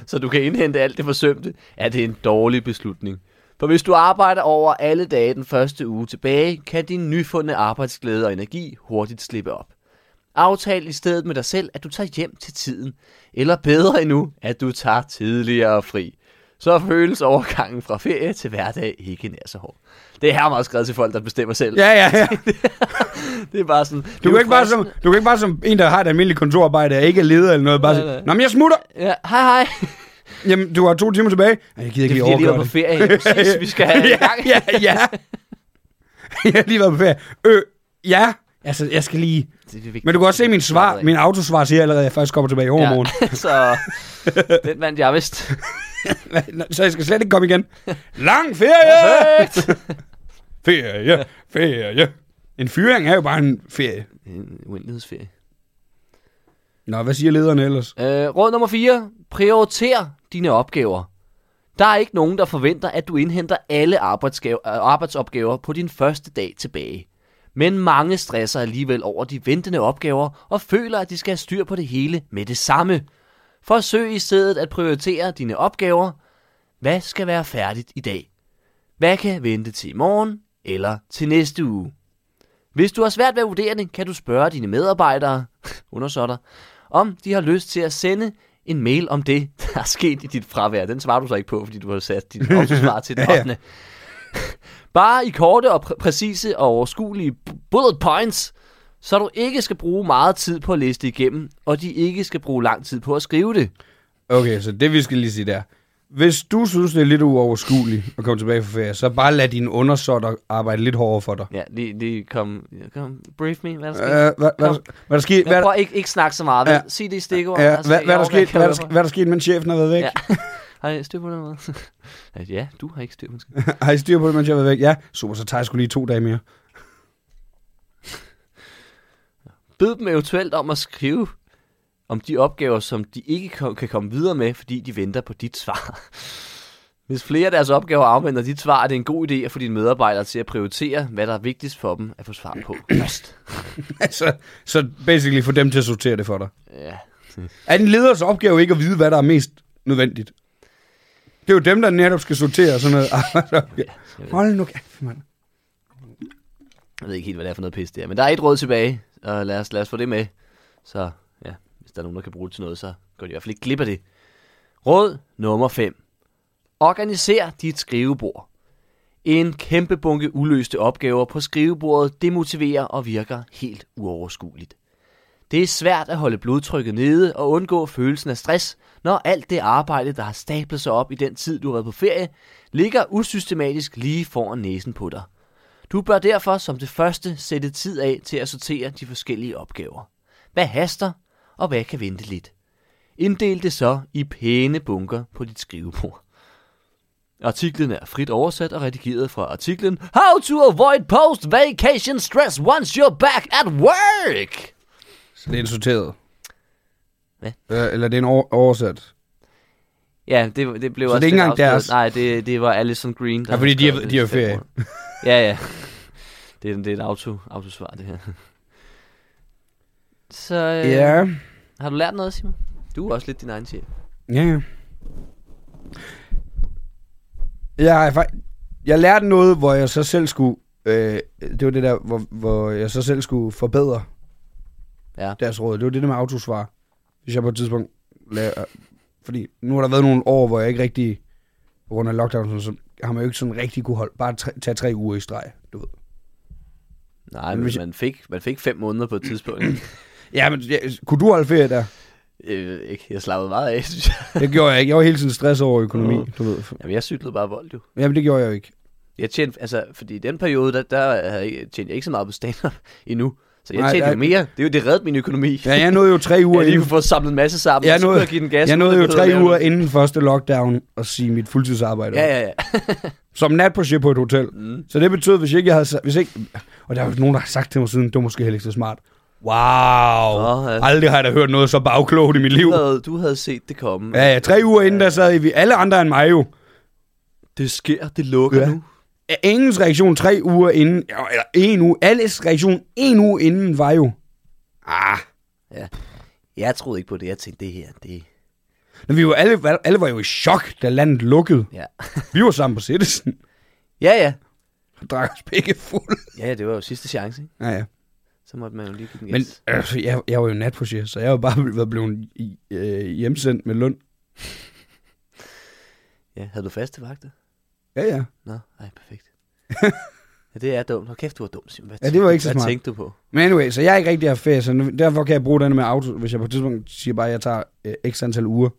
S3: så du kan indhente alt det forsømte, er det en dårlig beslutning. For hvis du arbejder over alle dage den første uge tilbage, kan din nyfundne arbejdsglæde og energi hurtigt slippe op. Aftal i stedet med dig selv, at du tager hjem til tiden, eller bedre endnu, at du tager tidligere fri. Så føles overgangen fra ferie til hverdag ikke nær så hård. Det er her meget skrevet til folk, der bestemmer selv.
S4: Ja, ja, ja.
S3: Det er bare sådan...
S4: Du kan, ikke bare som, du kan ikke bare som en, der har et almindeligt kontorarbejde, og ikke er leder eller noget, bare
S3: Nej,
S4: sige,
S3: nej.
S4: Nå, men jeg smutter.
S3: Ja, hej hej.
S4: Jamen, du har to timer tilbage. Ej, jeg gider
S3: Det
S4: ikke
S3: er
S4: lige
S3: fordi, jeg lige
S4: overgøre
S3: var på
S4: det.
S3: ferie. Ja, Præcis, vi skal have i gang.
S4: ja, ja, ja. Jeg har lige været på ferie. Øh, ja. Altså, jeg skal lige...
S3: Det er vigtigt.
S4: Men du kan også se min svar.
S3: Arbejde.
S4: Min autosvar siger allerede, at jeg først kommer tilbage i overmorgen.
S3: Ja, så den vandt jeg vist.
S4: Nå, Så jeg skal slet ikke komme igen. Lang ferie! ferie, ferie. En fyring er jo bare en ferie.
S3: En uendelighedsferie.
S4: Nå, hvad siger lederne ellers?
S3: Øh, råd nummer 4. Prioriter dine opgaver. Der er ikke nogen, der forventer, at du indhenter alle arbejdsgave- øh, arbejdsopgaver på din første dag tilbage. Men mange stresser alligevel over de ventende opgaver og føler, at de skal have styr på det hele med det samme. Forsøg i stedet at prioritere dine opgaver. Hvad skal være færdigt i dag? Hvad kan vente til i morgen eller til næste uge? Hvis du har svært ved at vurdere det, kan du spørge dine medarbejdere, undersåtter, om de har lyst til at sende en mail om det, der er sket i dit fravær. Den svarer du så ikke på, fordi du har sat dit autosvar til den 8.
S4: Ja, ja.
S3: Bare i korte og præ- præcise og overskuelige bu- bullet points, så du ikke skal bruge meget tid på at læse det igennem, og de ikke skal bruge lang tid på at skrive det.
S4: Okay, så det vi skal lige sige der. Hvis du synes, det er lidt uoverskueligt at komme tilbage fra ferie, så bare lad dine undersåtter arbejde lidt hårdere for dig.
S3: Ja, lige, lige kom, kom, brief me, hvad er der
S4: Øh,
S3: sket?
S4: hvad, hvad,
S3: Kom.
S4: hvad, hvad der skete?
S3: Men
S4: Hvad,
S3: prøv altså, ikke, ikke snakke så meget.
S4: Ja.
S3: Ja. Sig det i stikord.
S4: ja, hvad, hvad, der skete, hvad, der, sk-
S3: skete?
S4: hvad der skete, mens chefen har været væk?
S3: Ja. Har I styr på noget? Ja, ja, du har ikke styr på det.
S4: Har I styr på det, mens jeg har været væk? Ja, super, så tager jeg sgu lige to dage mere.
S3: Bed dem eventuelt om at skrive om de opgaver, som de ikke ko- kan komme videre med, fordi de venter på dit svar. Hvis flere af deres opgaver afventer dit svar, er det en god idé at få dine medarbejdere til at prioritere, hvad der er vigtigst for dem at få svar på først.
S4: så, Altså, så basically få dem til at sortere det for dig.
S3: Ja.
S4: Er din leders opgave ikke at vide, hvad der er mest nødvendigt? Det er jo dem, der netop skal sortere sådan noget. Ah, Hold nu kæft, mand.
S3: Jeg ved ikke helt, hvad det er for noget pis det er, men der er et råd tilbage, og lad os, lad os få det med. Så ja, hvis der er nogen, der kan bruge det til noget, så går de i hvert fald ikke glip af det. Råd nummer 5. Organiser dit skrivebord. En kæmpe bunke uløste opgaver på skrivebordet demotiverer og virker helt uoverskueligt. Det er svært at holde blodtrykket nede og undgå følelsen af stress, når alt det arbejde, der har stablet sig op i den tid, du har været på ferie, ligger usystematisk lige foran næsen på dig. Du bør derfor som det første sætte tid af til at sortere de forskellige opgaver. Hvad haster, og hvad kan vente lidt? Inddel det så i pæne bunker på dit skrivebord. Artiklen er frit oversat og redigeret fra artiklen How to avoid post-vacation stress once you're back at work.
S4: Så det er en sorteret.
S3: Hvad?
S4: Øh, eller det er en over- oversat.
S3: Ja, det, det blev
S4: Så
S3: også
S4: det er ikke engang
S3: lidt afsløret.
S4: deres?
S3: Nej, det, det var Alison Green. Der
S4: Ja, fordi de
S3: har
S4: har-
S3: skrevet
S4: de har
S3: det i
S4: ferie.
S3: fem år. ja, ja. Det er, det er et auto, autosvar, det her. Så øh,
S4: Ja.
S3: Har du lært noget, Simon? Du er også lidt din egen chef.
S4: Ja, ja. Jeg, har fakt- jeg lærte noget, hvor jeg så selv skulle... Øh, det var det der, hvor, hvor jeg så selv skulle forbedre
S3: Ja.
S4: deres råd. Det var det der med autosvar. Hvis jeg på et tidspunkt... Laver, fordi nu har der været nogle år, hvor jeg ikke rigtig... På grund af lockdown, sådan, så har man jo ikke sådan rigtig kunne holde... Bare tre, tage tre uger i streg, du ved.
S3: Nej,
S4: Men
S3: men
S4: hvis jeg-
S3: man fik, man fik fem måneder på et tidspunkt.
S4: Ja, men ja, kunne du holde ferie der?
S3: øh, ikke? Jeg slappede meget af, synes jeg.
S4: Det gjorde jeg ikke. Jeg var hele tiden stress over økonomi,
S3: Åh.
S4: du ved.
S3: Jamen, jeg cyklede bare vold, jo.
S4: Jamen, det gjorde jeg jo ikke.
S3: Jeg tjente, altså, fordi i den periode, der, der havde jeg- tjente jeg ikke så meget på stand endnu. Så jeg
S4: Nej,
S3: tjente
S4: der-
S3: jo mere. Det, er jo, det reddede min økonomi.
S4: Ja, jeg nåede jo tre uger
S3: jeg lige
S4: inden
S3: kunne få samlet en masse sammen,
S4: Jeg
S3: og så kunne
S4: nåede-
S3: jeg give den gas.
S4: Jeg
S3: uden
S4: nåede
S3: at
S4: jo
S3: behøve at
S4: tre
S3: lave
S4: uger
S3: noget.
S4: inden første lockdown at sige mit fuldtidsarbejde.
S3: Ja,
S4: Ja, ja.
S3: ja, ja.
S4: Som natprojekt på et hotel. Mm. Så det betød, hvis ikke jeg havde... sa- Hvis ikke, og der er jo nogen, der har sagt til mig siden, det var måske heller ikke så smart. Wow.
S3: Nå, ja.
S4: Aldrig har jeg da hørt noget så bagklogt i mit liv.
S3: Du havde, du havde set det komme.
S4: Ja, ja, tre uger inden, der sad vi alle andre end mig jo.
S3: Det sker, det lukker
S4: Ja.
S3: nu.
S4: Ja, Ingens reaktion tre uger inden, ja, eller en uge. Alles reaktion en uge inden var jo... Ah.
S3: Jeg troede ikke på det. Jeg tænkte, det her, det...
S4: Men vi var alle, alle var jo i chok, da landet lukkede.
S3: Ja,
S4: Vi var sammen på Citizen
S3: ja. ja.
S4: og drak os begge fuld.
S3: Ja, ja, det var jo sidste chance, ikke?
S4: Ja, ja.
S3: Så måtte man jo lige give den
S4: Men
S3: gas.
S4: altså, jeg, jeg var jo natprojekt, så jeg var bare været blevet i- øh, hjemsendt med løn.
S3: Ja, havde du faste vagter?
S4: Ja, ja.
S3: Nå, nej, perfekt. ja, det er dumt. Hold kæft, du var dum, Simon. Hvad
S4: Ja, det
S3: tænkte
S4: var
S3: du-
S4: ikke så
S3: Hvad
S4: smart.
S3: tænkte du på?
S4: Men anyway, så jeg er ikke rigtig har ferie, så nu, derfor kan jeg bruge den med auto, hvis jeg på et tidspunkt siger bare, at jeg tager øh, x antal uger.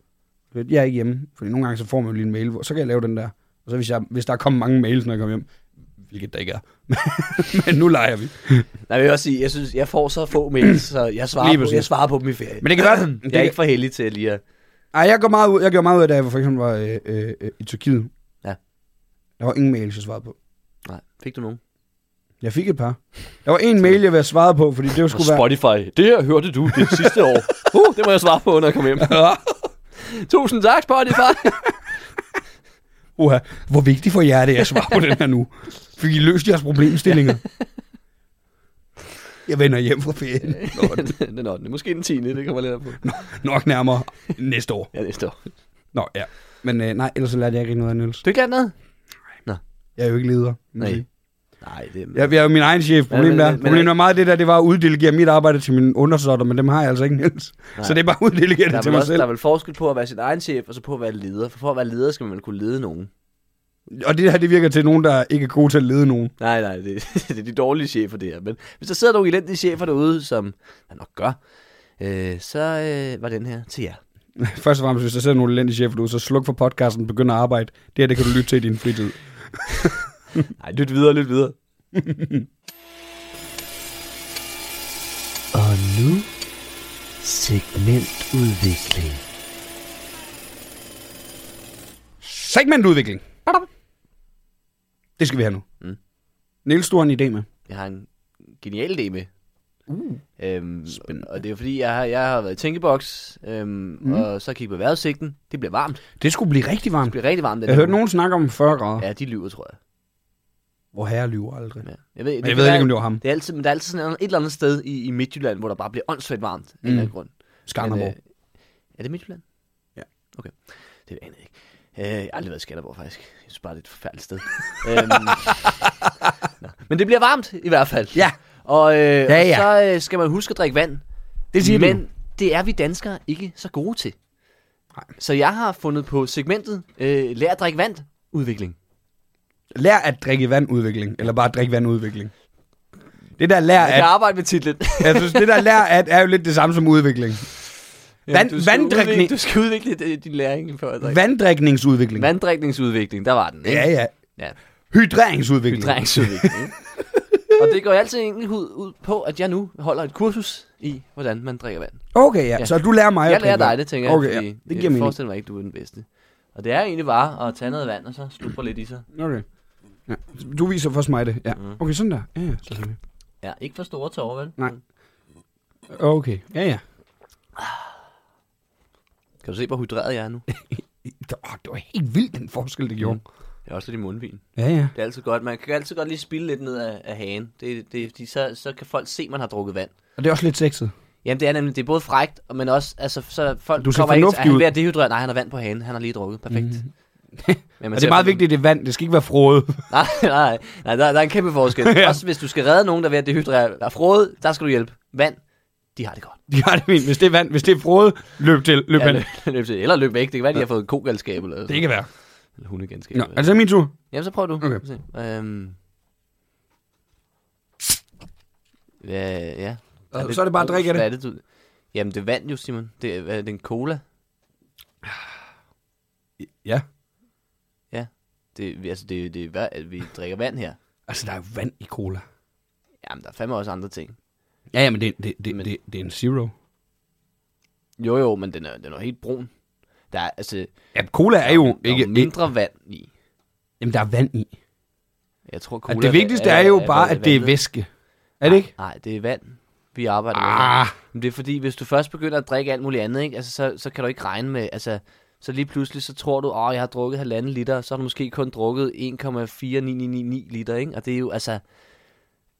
S4: Jeg er ikke hjemme, fordi nogle gange så får man jo lige en mail, hvor, så kan jeg lave den der. Og så hvis, jeg, hvis der kommer mange mails, når jeg kommer hjem, hvilket der ikke er. Men nu leger vi.
S3: Nej, jeg vil også sige, jeg synes, jeg får så få mails, så jeg
S4: Lige
S3: svarer, på,
S4: præcis.
S3: jeg svarer på dem i ferie.
S4: Men det kan være- det
S3: jeg er
S4: kan-
S3: ikke for heldig til lige at...
S4: Ej, jeg, går meget ud, jeg gjorde meget ud af, da jeg for eksempel var øh, øh, øh, i Tyrkiet.
S3: Ja.
S4: Der var ingen mails, jeg svarede på.
S3: Nej, fik du nogen?
S4: Jeg fik et par. Der var en mail, jeg ville have svaret på, fordi det jo
S5: På
S4: skulle være...
S5: Spotify. Det her hørte du det sidste år. Uh, det må jeg svare på, når jeg kommer hjem.
S3: Tusind tak, Spotify.
S4: Uha, hvor vigtigt for jer det er at svare på den her nu. Fik I løst jeres problemstillinger? Jeg vender hjem fra ferien. Nå,
S3: den 8. Måske den 10. Det kommer lidt an på.
S4: Nok nærmere næste år.
S3: Ja, det står.
S4: Nå, ja. Men øh, nej, ellers så lærte jeg ikke noget af Niels.
S3: Du ikke lært noget?
S4: Jeg er jo ikke leder.
S3: Nej. Nej, det er...
S4: Jeg, jeg er jo min egen chef.
S3: men-
S4: Problemet er,
S3: men-
S4: problemet er meget det der, det var at uddelegere mit arbejde til mine undersåtter, men dem har jeg altså ikke, Niels.
S3: Nej.
S4: Så det er bare at uddelegere
S3: der,
S4: det
S3: er
S4: til
S3: vel
S4: mig
S3: også,
S4: selv.
S3: der er vel forskel på at være sin egen chef, og så på at være leder. For for at være leder, skal man vel kunne lede nogen.
S4: Og det her, det virker til nogen, der ikke er gode til at lede nogen.
S3: Nej, nej, det, det er de dårlige chefer, det her. Men hvis der sidder nogle elendige chefer derude, som man nok gør, øh, så øh, var den her til jer.
S4: Først og fremmest, hvis der sidder nogle elendige chefer derude, så sluk for podcasten, begynd at arbejde. Det her, det kan du lytte til i din fritid.
S3: Nej, lyt videre, lyt videre. og nu segmentudvikling.
S4: Segmentudvikling. Det skal vi have nu.
S3: Mm.
S4: Niels, du har en idé med.
S3: Jeg har en genial idé med. Uh, øhm, Spændende. Og det er jo fordi, jeg har, jeg har været i tænkeboks, øhm, mm. og så kigget på vejrudsigten. Det bliver varmt. Det
S4: Det skulle blive rigtig varmt.
S3: bliver rigtig varmt. den
S4: Jeg
S3: her
S4: hørte
S3: uge.
S4: nogen snakke om 40 grader. Ja.
S3: Ja, de lyver, tror jeg.
S4: Hvor herre lyver aldrig.
S3: Ja. Jeg ved,
S4: Men jeg ved ikke, om det var ham.
S3: Det er altid, men der er altid sådan et eller andet sted i, i Midtjylland, hvor der bare bliver åndssvagt varmt. Mm. Af en eller anden grund. Men,
S4: Skanderborg.
S3: øh, er det Midtjylland?
S4: Ja.
S3: Okay. Det aner jeg ikke. Øh, jeg har aldrig været i Skanderborg, faktisk. Jeg synes bare, det er et forfærdeligt sted. øhm, nå. Men det bliver varmt, i hvert fald.
S4: Ja.
S3: Og, øh, ja,
S4: ja.
S3: ja. og så øh, skal man huske at drikke vand.
S4: Det siger de
S3: Men
S4: jo.
S3: det er vi danskere ikke så gode til. Nej. Så jeg har fundet på segmentet øh, Lær at drikke vand udvikling. øh,
S4: Lær at drikke vandudvikling. Eller bare drikke vandudvikling. Det der lær
S3: Jeg kan
S4: at...
S3: arbejde med titlen.
S4: Jeg synes, det der lær at er jo lidt det samme som udvikling. Vand,
S3: du skal
S4: vanddrikning,
S3: udvikle- Du skal udvikle det- din læring for at drikke.
S4: vanddrikningsudvikling.
S3: Vanddrikningsudvikling, der var den. ikke?
S4: Ja, ja.
S3: ja.
S4: Hydreringsudvikling.
S3: Hydreringsudvikling. ikke? og det går jo altid egentlig ud, ud på, at jeg nu holder et kursus i, hvordan man drikker vand.
S4: Okay, ja. Så du lærer mig
S3: Jeg
S4: at
S3: lærer
S4: drikke
S3: dig
S4: vand.
S3: det, tænker jeg, øh,
S4: Okay,
S3: fordi
S4: ja. Det giver
S3: jeg
S4: mening.
S3: forestiller mig ikke, du er den bedste. Og det er egentlig bare at tage noget vand, og så slubre lidt i sig.
S4: Okay. Ja. Du viser først mig det, ja.
S3: Mm.
S4: Okay, sådan der. Ja, ja, selvfølgelig.
S3: Ja, ikke for store tårer, vel?
S4: Nej. Okay, ja, ja.
S3: Kan du se, hvor hydreret jeg er nu?
S4: Det, åh, det var helt vildt, den forskel, det gjorde.
S3: Jeg er også lidt i mundvin.
S4: Mm. Ja, ja.
S3: Det er altid godt. Man kan altid godt lige spille lidt ned af, af hagen. Det, det, fordi så, så kan folk se, at man har drukket vand.
S4: Og det er også lidt sexet.
S3: Jamen det er nemlig, det er både frægt, og- men også, altså, så folk
S4: Du ser
S3: kommer ikke til,
S4: fornuftig
S3: han er
S4: ud.
S3: ved at dehydrere, nej, han har vand på hanen, han har lige drukket, perfekt. Mm. Men
S4: Og det er meget vigtigt, at det er vand. Det skal ikke være frode.
S3: Nej, nej, nej der, der er en kæmpe forskel. Også hvis du skal redde nogen, der er ved at dehydrere, der er frode, der skal du hjælpe. Vand, de har det godt.
S4: De har det fint. Hvis det er vand, hvis det er frode, løb til. Løb
S3: Ja,
S4: hen.
S3: løb, løb til, eller løb væk, det kan være, de har fået kogalskab eller,
S4: Det kan være.
S3: eller hundegalskab.
S4: Nå,
S3: eller-
S4: altså min tur.
S3: Jamen, så prøv du.
S4: Okay.
S3: Se. Øhm. Ja, ja.
S4: Og så er det bare at drikke af det.
S3: Hvad er det, du... Jamen, det er vand jo, Simon. Det er, hvad er det, en cola.
S4: Ja.
S3: Ja. Det, altså, det, det er, vand- at vi drikker vand her.
S4: Altså, der er jo vand i cola.
S3: Jamen, der er fandme også andre ting.
S4: Ja, ja, men det, det, det,
S3: Men-
S4: det, det er en zero.
S3: Jo, jo, men den er, den er helt brun. Der er, altså,
S4: Ja, cola er jo
S3: der
S4: ikke...
S3: er mindre vand i.
S4: Jamen, der er vand i.
S3: Jeg tror, cola
S4: Og Altså, det vigtigste er jo bare, at det er Ah. væske. Er det ikke?
S3: Nej, det er vand, vi arbejder med.
S4: Ah,
S3: Men det er fordi, hvis du først begynder at drikke alt muligt andet, ikke? Altså, så, så kan du ikke regne med... Altså, så lige pludselig, så tror du, åh, jeg har drukket halvanden liter, og så har du måske kun drukket 1,4999 liter, ikke? Og det er jo, altså...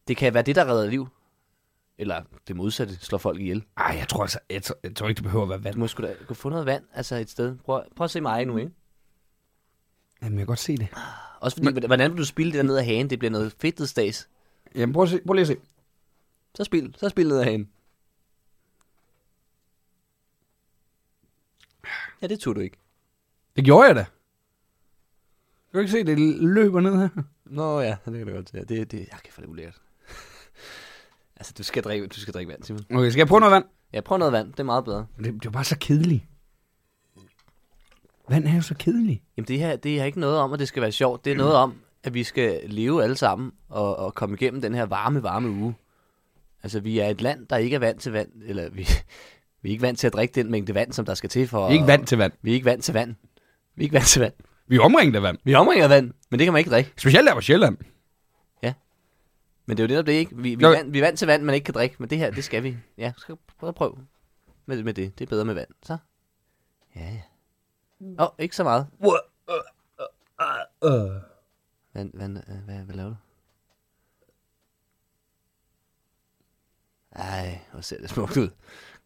S3: Det kan være det, der redder liv. Eller det modsatte, slår folk ihjel.
S4: Ej, jeg tror altså, jeg tror, jeg tror ikke, det behøver at være vand.
S3: Du må sgu da kunne få noget vand, altså et sted. Prøv, prøv at se mig nu, ikke?
S4: Jamen, jeg kan godt se det.
S3: Også fordi, Men... hvordan vil du spille det der ned af hagen? Det bliver noget fedtet stads.
S4: Jamen, prøv, at se, prøv lige at se.
S3: Så spil, så spil ned af hagen. Ja, det turde du ikke.
S4: Det gjorde jeg da. Kan du ikke se, det løber ned her?
S3: Nå ja, det kan du godt. Ja, det, det, jeg kan få det ulækkert. altså, du skal, drikke, du skal drikke vand, Simon.
S4: Okay, skal jeg prøve noget vand?
S3: Ja, prøv noget vand. Det er meget bedre.
S4: Det, det er bare så kedeligt. Vand er jo så kedeligt.
S3: Jamen, det her det er ikke noget om, at det skal være sjovt. Det er noget om, at vi skal leve alle sammen og, og komme igennem den her varme, varme uge. Altså, vi er et land, der ikke er vant til vand. Eller vi, vi er ikke vant til at drikke den mængde vand, som der skal til for...
S4: Vi er ikke vant til vand.
S3: Vi er ikke vant til vand. Vi er ikke vant til vand.
S4: Vi er omringet af vand.
S3: Vi er omringet af vand, men det kan man ikke drikke.
S4: Specielt der på Sjælland.
S3: Men det er jo netop det, ikke? Vi, vi,
S4: Nå.
S3: er vant, vi er vant til vand, man ikke kan drikke, men det her, det skal vi. Ja, så prøv at prøve med, med det. Det er bedre med vand, så. Ja, ja. Åh, oh, ikke så meget.
S4: Øh.
S3: Hvad, hvad, øh, hvad, hvad laver du? Ej, hvor ser det smukt ud.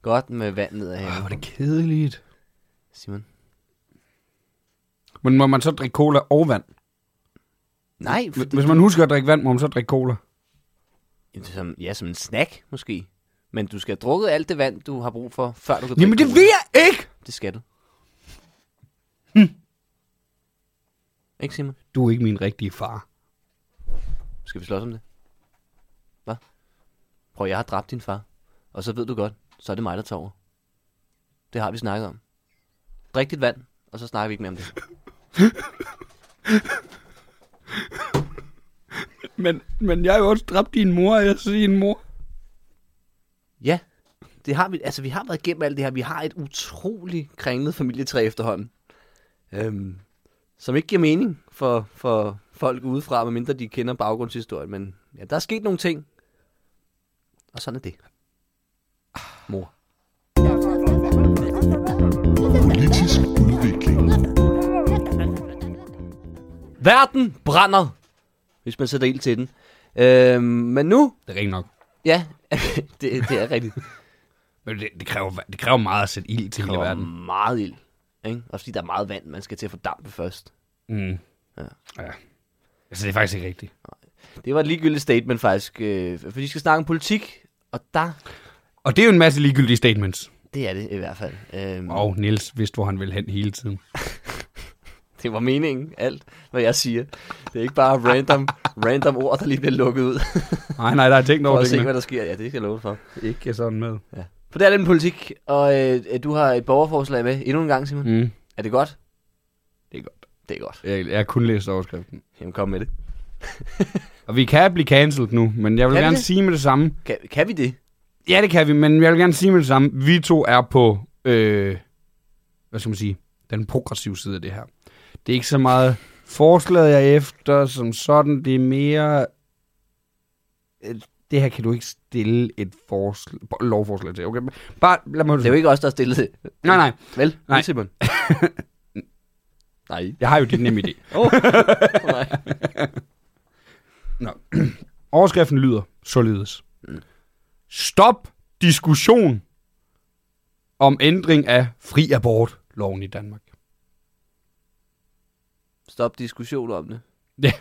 S3: Godt med vand ned
S4: Åh, hvor er
S3: her.
S4: det kedeligt.
S3: Simon.
S4: Men må man så drikke cola og vand?
S3: Nej,
S4: Hvis-
S3: fordi,
S4: Hvis man husker at drikke vand, må man så drikke cola.
S3: som, ja, som en snack måske. Men du skal have drukket alt det vand, du har brug for, før du kan drikke
S4: Jamen det
S3: cola.
S4: ved jeg Hm. ikke!
S3: Det skal du. Ikke Simon?
S4: Du er ikke min rigtige far.
S3: Skal vi slås om det? Hvad? Prøv, jeg har dræbt din far. Og så ved du godt, så er det mig, der tager over. Det har vi snakket om. Drik dit vand, og så snakker vi ikke mere om det.
S4: Men, men jeg har jo også dræbt din mor, og jeg siger din mor.
S3: Ja, det har vi. Altså, vi har været igennem alt det her. Vi har et utrolig kringlet familietræ efterhånden. Øhm, som ikke giver mening for, for folk udefra, medmindre de kender baggrundshistorien. Men ja, der er sket nogle ting. Og sådan er det. Mor.
S6: Politisk udvikling.
S3: Verden brænder, hvis man sætter ild til den. Øhm, men nu,
S4: Det er rigtigt nok.
S3: ja, det, det er rigtigt.
S4: Men det, det, kræver, det kræver meget at sætte ild til hele
S3: Der er
S4: verden.
S3: meget ild. Ikke? Også fordi der er meget vand, man skal til at fordampe først.
S4: Mm.
S3: Ja.
S4: ja. Altså, det er faktisk ikke rigtigt.
S3: Det var et ligegyldigt statement faktisk, øh, for de skal snakke om politik, og der,
S4: Og det er jo en masse ligegyldige statements.
S3: det er det i hvert fald. Øhm,
S4: Og oh, Nils vidste, hvor han ville hen hele tiden.
S3: Det var meningen, alt hvad jeg siger. Det er ikke bare random, random ord, der lige bliver lukket ud,
S4: Nej, nej, der er tænkt
S3: for
S4: over
S3: at se,
S4: tingene.
S3: hvad der sker. Ja, det skal jeg love dig for.
S4: Ikke sådan med.
S3: For det er den politik, og øh, du har et borgerforslag med endnu en gang, Simon. Mm.
S4: Mm.
S3: Er det godt?
S4: Det er godt.
S3: Det er godt.
S4: Jeg, jeg har kun læst overskriften.
S3: Jamen, kom med det.
S4: Og vi kan blive cancelled nu, men jeg vil
S3: Kan vi
S4: gerne
S3: det?
S4: sige med det samme.
S3: Kan, kan vi det?
S4: Ja, det kan vi, men jeg vil gerne sige med det samme. Vi to er på, øh, hvad skal man sige, den progressive side af det her. Det er ikke så meget forslaget, jeg er efter som sådan. Det er mere, øh, det her kan du ikke stille et forslag, lovforslag til. Okay, bare lad mig...
S3: Det er jo ikke os, der har stillet det.
S4: Mhm. Nej, nej,
S3: Vel?
S4: Nej.
S3: Nej. Simon. Nej.
S4: jeg har jo dit nemme idé.
S3: Oh, nej.
S4: Overskriften lyder således. Stop diskussion om ændring af fri abort-loven i Danmark.
S3: Stop diskussion om det.
S4: Ja.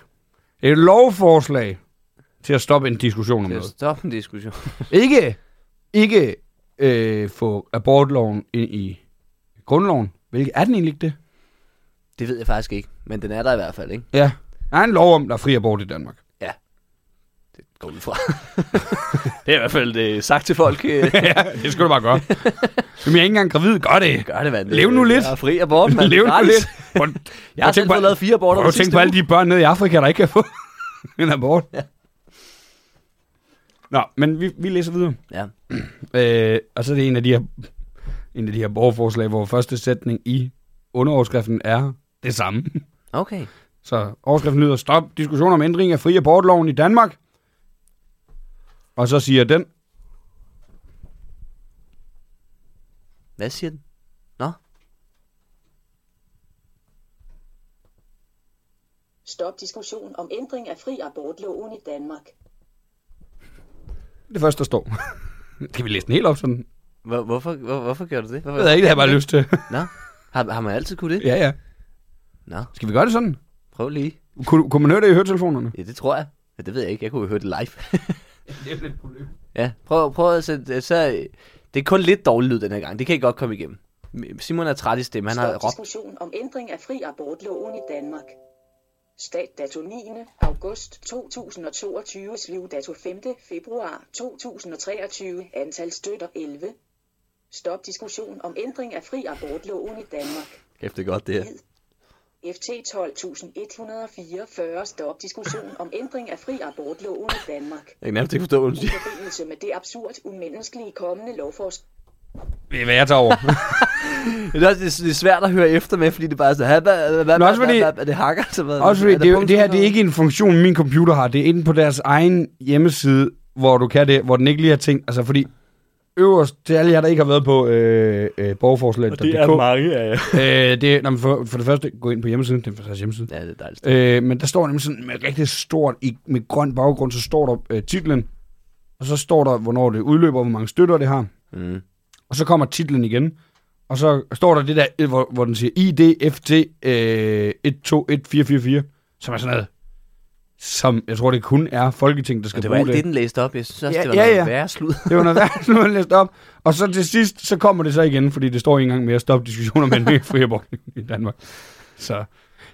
S4: Et lovforslag til at stoppe en diskussion om
S3: Det er
S4: noget.
S3: stop en diskussion.
S4: Ikke, ikke øh, få abortloven ind i grundloven. Hvilket, er den egentlig ikke det?
S3: Det ved jeg faktisk ikke, men den er der i hvert fald, ikke?
S4: Ja. Der er en lov om, der er fri abort i Danmark.
S3: Gå ud fra. det er i hvert fald øh, sagt til folk. Øh,
S4: ja, det skal du bare gøre. Jamen, jeg er ikke engang gravid. Gør det.
S3: gør det, mand.
S4: Lev nu lidt.
S3: Jeg er fri abort, mand.
S4: Lev nu
S3: Gratis.
S4: lidt. Prøv-
S3: Jeg har
S4: tænk
S3: selv fået
S4: på-
S3: lavet fire aborter
S4: Prøv
S3: på
S4: at tænke
S3: sidste
S4: på alle
S3: uge.
S4: de børn nede i Afrika, der ikke kan få en abort. Ja. Nå, men vi, vi læser videre.
S3: Ja.
S4: Øh, og så er det en af de her, en af de her borgerforslag, hvor første sætning i underoverskriften er det samme.
S3: Okay.
S4: Så overskriften lyder, stop diskussion om ændring af fri abortloven i Danmark. Og så siger den,
S3: Hvad siger den? Nå,
S7: Stop diskussion om ændring af fri abortloven i Danmark.
S4: det første der står. kan vi læse den helt op sådan?
S3: hvor, hvorfor, hvor, hvorfor gjorde du det? Hvorfor?
S4: Det ved jeg ikke, det har jeg bare lyst til.
S3: Nå, har, har man altid kunne det?
S4: ja, ja.
S3: Nå,
S4: Skal vi gøre det sådan?
S3: prøv lige.
S4: Kunne, kunne man høre det i høretelefonerne?
S3: Ja, det tror jeg. Ja, det ved jeg ikke. Jeg kunne jo høre det live. ja, prøv, prøv at sætte... øh, Så, det er kun lidt dårlig lyd den her gang. Det kan I godt komme igennem. Simon er træt i stemme. Han har
S7: Stop
S3: råbt.
S7: diskussion om ændring af fri abortloven i Danmark. Stat dato 9. august 2022, sliv dato 5. februar 2023, antal støtter 11. Stop diskussion om ændring af fri abortloven i Danmark.
S3: Kæft, det er godt, det her.
S7: FT 12.144, stop diskussion om ændring af fri abortloven i Danmark.
S3: Jeg kan nærmest ikke forstå, hvad hun
S7: I
S3: siger.
S7: forbindelse med det absurd umenneskelige kommende lovforslag.
S4: Det er, hvad jeg tager over.
S3: Det er, også, det er svært at høre efter med, fordi det bare er så... Men
S4: også fordi-
S3: Er det hakker? Så hvad,
S4: Også fordi
S3: er der
S4: det,
S3: punkt-
S4: det her det er ikke en funktion, min computer har. Det er inde på deres egen hjemmeside, hvor du kan det, hvor den ikke lige har tænkt. Altså fordi øverst til alle jer, der ikke har været på øh, øh, borgerforslaget.dk.
S8: Og det er mange af jer.
S4: øh, det, når man for, for det første, gå ind på hjemmesiden. Det er deres hjemmeside.
S3: Ja, det er dejligt.
S4: Øh, men der står nemlig sådan med rigtig stort, i, med grøn baggrund, så står der øh, titlen, og så står der, hvornår det udløber, hvor mange støtter det har.
S3: Mm.
S4: Og så kommer titlen igen, og så står der det der, øh, hvor, hvor den siger IDFT øh, 121444, som er sådan noget, som jeg tror, det kun er Folketinget, der skal
S3: Og det var
S4: bruge
S3: alt
S4: det.
S3: det, den læste op. Jeg synes også,
S4: Ja,
S3: ja, det var
S4: ja,
S3: ja,
S4: ja.
S3: noget værre slud.
S4: Det var noget værd, nu har jeg læst op. Og så til sidst, så kommer det så igen, fordi det står ikke engang mere stop diskussioner med en fri abort i Danmark. Så.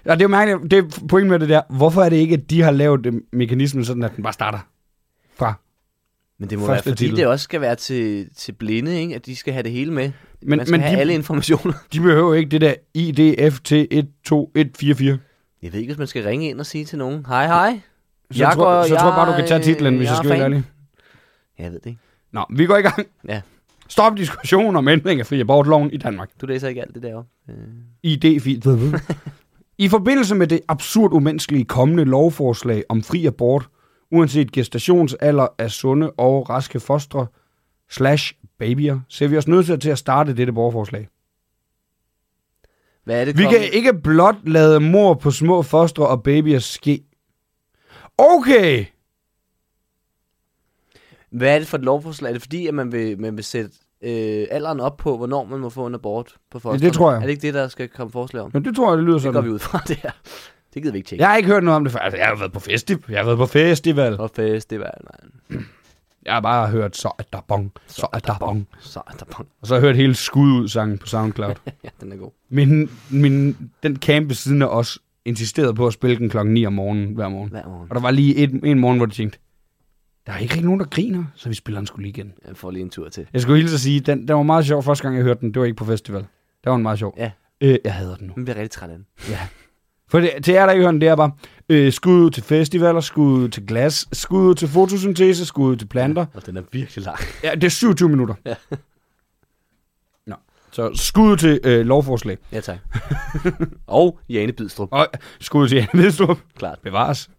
S4: Ja, det er jo mærkeligt, det er pointen med det der. Hvorfor er det ikke, at de har lavet øh, mekanismen sådan, at den bare starter fra?
S3: Men det må
S4: Første
S3: Første være, fordi
S4: titel.
S3: titel. det også skal være til, til blinde, ikke? at de skal have det hele med.
S4: Men-
S3: Men, Man skal
S4: men
S3: men have
S4: de-
S3: de... alle informationer.
S4: De behøver ikke det der IDFT12144.
S3: Jeg ved ikke, hvis man skal ringe ind og sige til nogen, hej hej.
S4: Så,
S3: Jeg
S4: tror,
S3: går-
S4: så tror jeg bare, du kan tage
S3: jeg-
S4: titlen, hvis jeg,
S3: jeg
S4: skal
S3: er
S4: være
S3: fan.
S4: ærlig.
S3: Jeg ved det ikke.
S4: Nå, vi går i gang.
S3: Ja.
S4: Stop diskussionen om ændring af fri abortloven i Danmark.
S3: Du læser ikke alt det deroppe. Øh.
S4: ID-fil. I forbindelse med det absurd umenneskelige kommende lovforslag om fri abort, uanset gestationsalder af sunde og raske fostre slash babyer, ser vi os nødt til at starte dette borgerforslag.
S3: Hvad er det
S4: Vi
S3: kommet?
S4: kan ikke blot lade mor på små fostre og babyer ske. Okay!
S3: Hvad er det for et lovforslag? Er det fordi, at man vil, man vil sætte øh, alderen op på, hvornår man må få en abort på fosteret?
S4: tror jeg.
S3: Er det ikke det, der skal komme forslag om?
S4: Men det tror jeg, det lyder
S3: Det går vi
S4: sådan.
S3: ud fra, det her. Det gider vi ikke tjekke.
S4: Jeg har ikke hørt noget om det før. Altså, jeg har jo været på festival. Jeg har været på festival.
S3: Og fest, det var... Nej,
S4: Jeg har bare hørt, så er der bong, så er der bong.
S3: så er der bang.
S4: Og så har jeg hørt hele skud-ud-sangen på Soundcloud.
S3: Ja, den er god.
S4: Men, men den camp ved siden af os insisterede på at spille den klokken 9 om morgenen hver morgen.
S3: Hver morgen.
S4: Og der var lige et, en morgen, hvor de tænkte, der er ikke rigtig nogen, der griner, så vi spiller den skulle lige igen.
S3: Jeg får lige en tur til.
S4: Jeg skulle hilse at sige, den, den var meget sjov første gang, jeg hørte den. Det var ikke på festival. Det var den meget sjov.
S3: Ja.
S4: Øh, jeg hader den nu.
S3: Man bliver rigtig træt af den.
S4: For det, til jer, der ikke hører den, det er bare øh, skud ud til festivaler, skud ud til glas, skud ud til fotosyntese, skud ud til planter.
S3: Og den er virkelig lang.
S4: Ja, det er 27 minutter. Ja. Nå. Så skud ud til øh, lovforslag.
S3: Ja, tak. og Jane Bidstrup.
S4: Og skud ud til Anne Vedstrup.
S3: Klart.
S4: Bevares.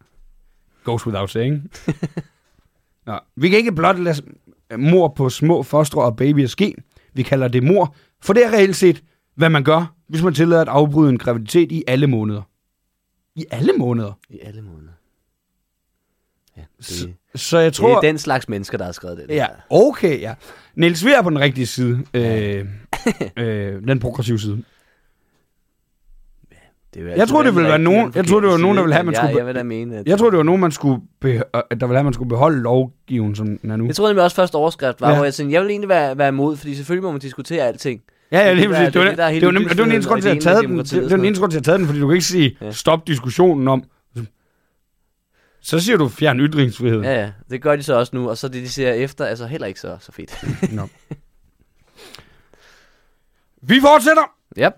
S4: Goes without saying. Nå, vi kan ikke blot lade mor på små fostre og babyer ske. Vi kalder det mor, for det er reelt set, hvad man gør, hvis man tillader at afbryde en graviditet i alle måneder. I alle måneder?
S3: I alle måneder. Ja,
S4: Så,
S3: det,
S4: så jeg
S3: tror... det
S4: tror...
S3: er den slags mennesker, der har skrevet det.
S4: Ja, okay, ja. Niels, vi er på den rigtige side. Øh, øh, den progressive side.
S3: Det
S4: Jeg tror, det ville være nogen- jeg tror, det
S3: altså,
S4: var nogen, der ville have, man
S3: jeg,
S4: skulle-
S3: Jeg vil da mene, at...
S4: Jeg tror, det var nogen, man skulle beho- øh, at der ville have, man skulle beholde lovgiven, som den er nu.
S3: Jeg troede nemlig også først overskrift var,
S4: Ja.
S3: ja. hvor jeg sådan, jeg vil egentlig være, være imod, fordi selvfølgelig må man diskutere alting.
S4: Ja, ja,
S3: Det
S4: lige
S3: er
S4: præcis.
S3: det,
S4: Det var
S3: det
S4: det,
S3: der er hele
S4: det var nemlig- det var den
S3: ytringsfriheden
S4: eneste grund til, at jeg
S3: og det ene
S4: taget
S3: med
S4: den. Det det
S3: demokratiet og
S4: var den
S3: sådan
S4: eneste grund til, at jeg taget den, fordi du kan ikke sige,
S3: Ja.
S4: stop diskussionen om... Så siger du, fjern ytringsfrihed.
S3: Ja, ja, det gør de så også nu, og så det, de ser efter, altså heller ikke så, så fedt.
S4: Nå. Vi fortsætter!
S3: yep.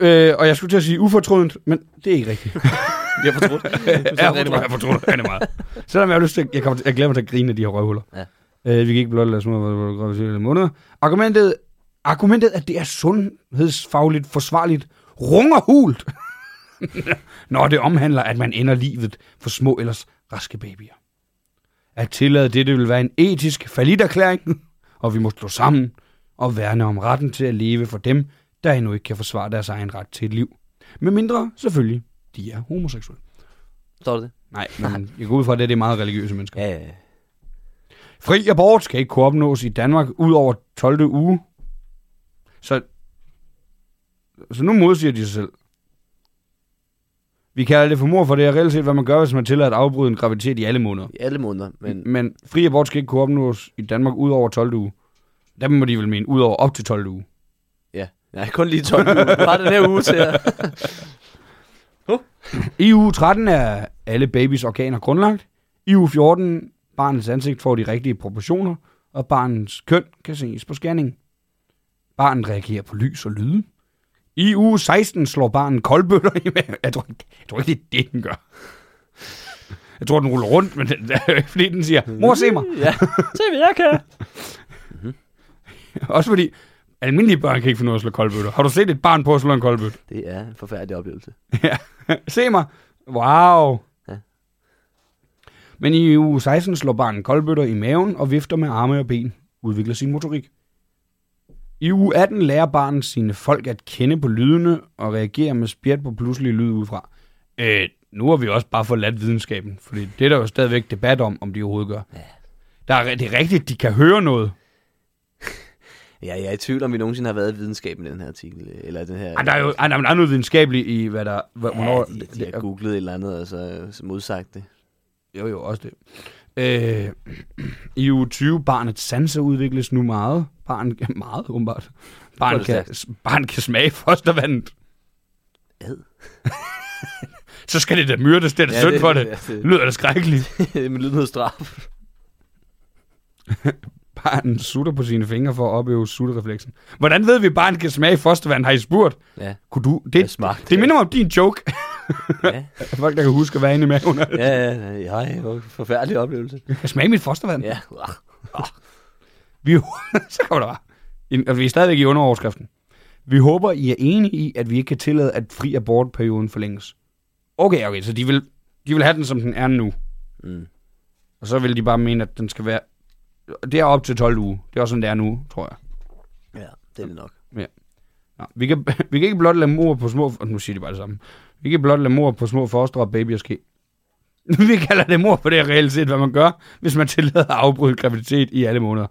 S4: Øh, og jeg skulle til at sige ufortrødent, men det er ikke rigtigt.
S5: Jeg har fortrudt.
S4: Ja, rigtig meget. Jeg fortryder rigtig meget. Selvom jeg har lyst til, jeg, kommer til, jeg glæder mig til at grine af de her røvhuller.
S3: Ja.
S4: Øh, vi kan ikke blot lade små graviditet i måneder. Argumentet, argumentet, at det er sundhedsfagligt forsvarligt, runger hult, når det omhandler, at man ender livet for små ellers raske babyer. At tillade dette vil være en etisk faliderklæring, og vi må stå sammen og værne om retten til at leve for dem, der endnu ikke kan forsvare deres egen ret til et liv. Med mindre, selvfølgelig, de er homoseksuelle.
S3: Står der det?
S4: Nej, men jeg går ud fra, at det er det meget religiøse mennesker. Ja.
S3: Ja, ja.
S4: Fri abort skal ikke kunne opnås i Danmark ud over 12. uge. Så, så nu modsiger de sig selv. Vi kalder det for mor, for det er reelt set, hvad man gør, hvis man tillader at afbryde en graviditet i alle måneder.
S3: I alle måneder, men
S4: Men fri abort skal ikke kunne opnås i Danmark ud over 12. uge. Der må de vel mene, ud over op til 12. uge.
S3: ja. Nej, kun lige 12 uger. Bare den her uge til at...
S4: I uge 13 er alle babys organer grundlagt. I uge 14 barnets ansigt får de rigtige proportioner, og barnets køn kan ses på scanning. Barnet reagerer på lys og lyde. I uge 16 slår barnet koldbøtter i maven. Jeg tror, ikke, jeg tror ikke, det er det, den gør. Jeg tror, den ruller rundt, men den, fordi den siger, mor se mig.
S3: ja. Se, hvad jeg kan.
S4: Også fordi Almindelige børn kan ikke finde ud af at slå koldbøtter. Har du set et barn på at slå en koldbøtte?
S3: Det er en forfærdelig oplevelse.
S4: Ja. Se mig. Wow.
S3: Ja.
S4: Men i uge 16 slår barnet koldbøtter i maven og vifter med arme og ben, udvikler sin motorik. I uge 18 lærer barnet sine folk at kende på lydene og reagere med spjæt på pludselige lyd udefra. Øh, nu har vi også bare forladt videnskaben, fordi det er der jo stadigvæk debat om, om de overhovedet gør. Ja. Der er, det er rigtigt, de kan høre noget.
S3: Ja, jeg er i tvivl om, vi nogensinde har været i videnskaben i den her artikel. Eller den her...
S4: Ej, der er jo ej, der er noget videnskabeligt i, hvad der... Hvad,
S3: Ja,
S4: hvornår,
S3: de, de har googlet et eller andet, og så så modsagt det.
S4: Jo, jo, også det. Øh, I uge 20, barnets sanser udvikles nu meget. Barn, meget, åbenbart. Barn
S3: Hvor er det
S4: kan, barn kan smage fostervandet.
S3: Ad.
S4: Så skal det da myrdes, det er da
S3: Ja,
S4: ja, synd
S3: det-
S4: for det.
S3: ja, det-
S4: Lyder da skrækkeligt.
S3: Men lyder noget straf.
S4: Barnet sutter på sine fingre for at opøve sutterefleksen. Hvordan ved vi, at barnet kan smage fostervand? Har I spurgt?
S3: Ja.
S4: Kunne du?
S3: Jeg
S4: Det,
S3: smagte
S4: det
S3: det.
S4: minder mig om din joke.
S3: Ja.
S4: Folk, der kan huske at være inde i maven.
S3: Ja, ja, ja, ja, ja, forfærdelig oplevelse.
S4: Jeg kan smage mit fostervand.
S3: Ja, uah.
S4: Vi, så kommer der bare. En- Og vi er stadigvæk i underoverskriften. Vi håber, I er enige i, at vi ikke kan tillade, at fri abortperioden forlænges. Okay, okay, så de vil, de vil have den, som den er nu.
S3: Mm.
S4: Og så vil de bare mene, at den skal være... Det er op til 12 uger. Det er også sådan, det er nu, tror jeg.
S3: ja, det er det nok.
S4: Nå, vi, kan, vi kan ikke blot lade mor på små... Nu siger de bare det samme. Vi kan blot lade mor på små foster og babyer ske. vi kalder det mor på det er reelt set, hvad man gør, hvis man tillader at afbryde en graviditet i alle måneder.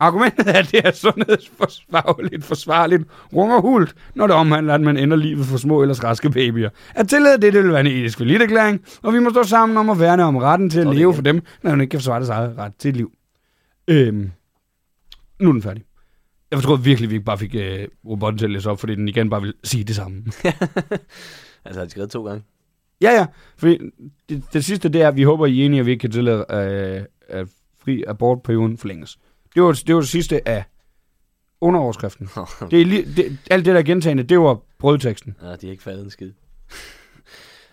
S4: Argumentet er, at det er sundhedsforsvarligt, forsvarligt, runger hult, når det omhandler, at man ender livet for små ellers raske babyer. At tillade det, det vil være en etisk valideklæring, og vi må stå sammen om at værne om retten til at
S3: Står det
S4: leve
S3: igen?
S4: for dem, når man ikke kan forsvare deres eget ret til et liv. Øhm, nu er den færdig. Jeg tror virkelig, vi ikke bare fik øh, robotten til at læse op, fordi den igen bare vil sige det samme.
S3: Altså, har de skrevet to gange?
S4: Ja, ja. Fordi det, det sidste, det er, at vi håber, I er enige, at vi ikke kan tillade, øh, at fri abortperioden forlænges. Det var, det var det sidste af underoverskriften. Det er lige, det, alt det, der er gentagende, det var brødteksten.
S3: Nej, de har ikke faldet en skid.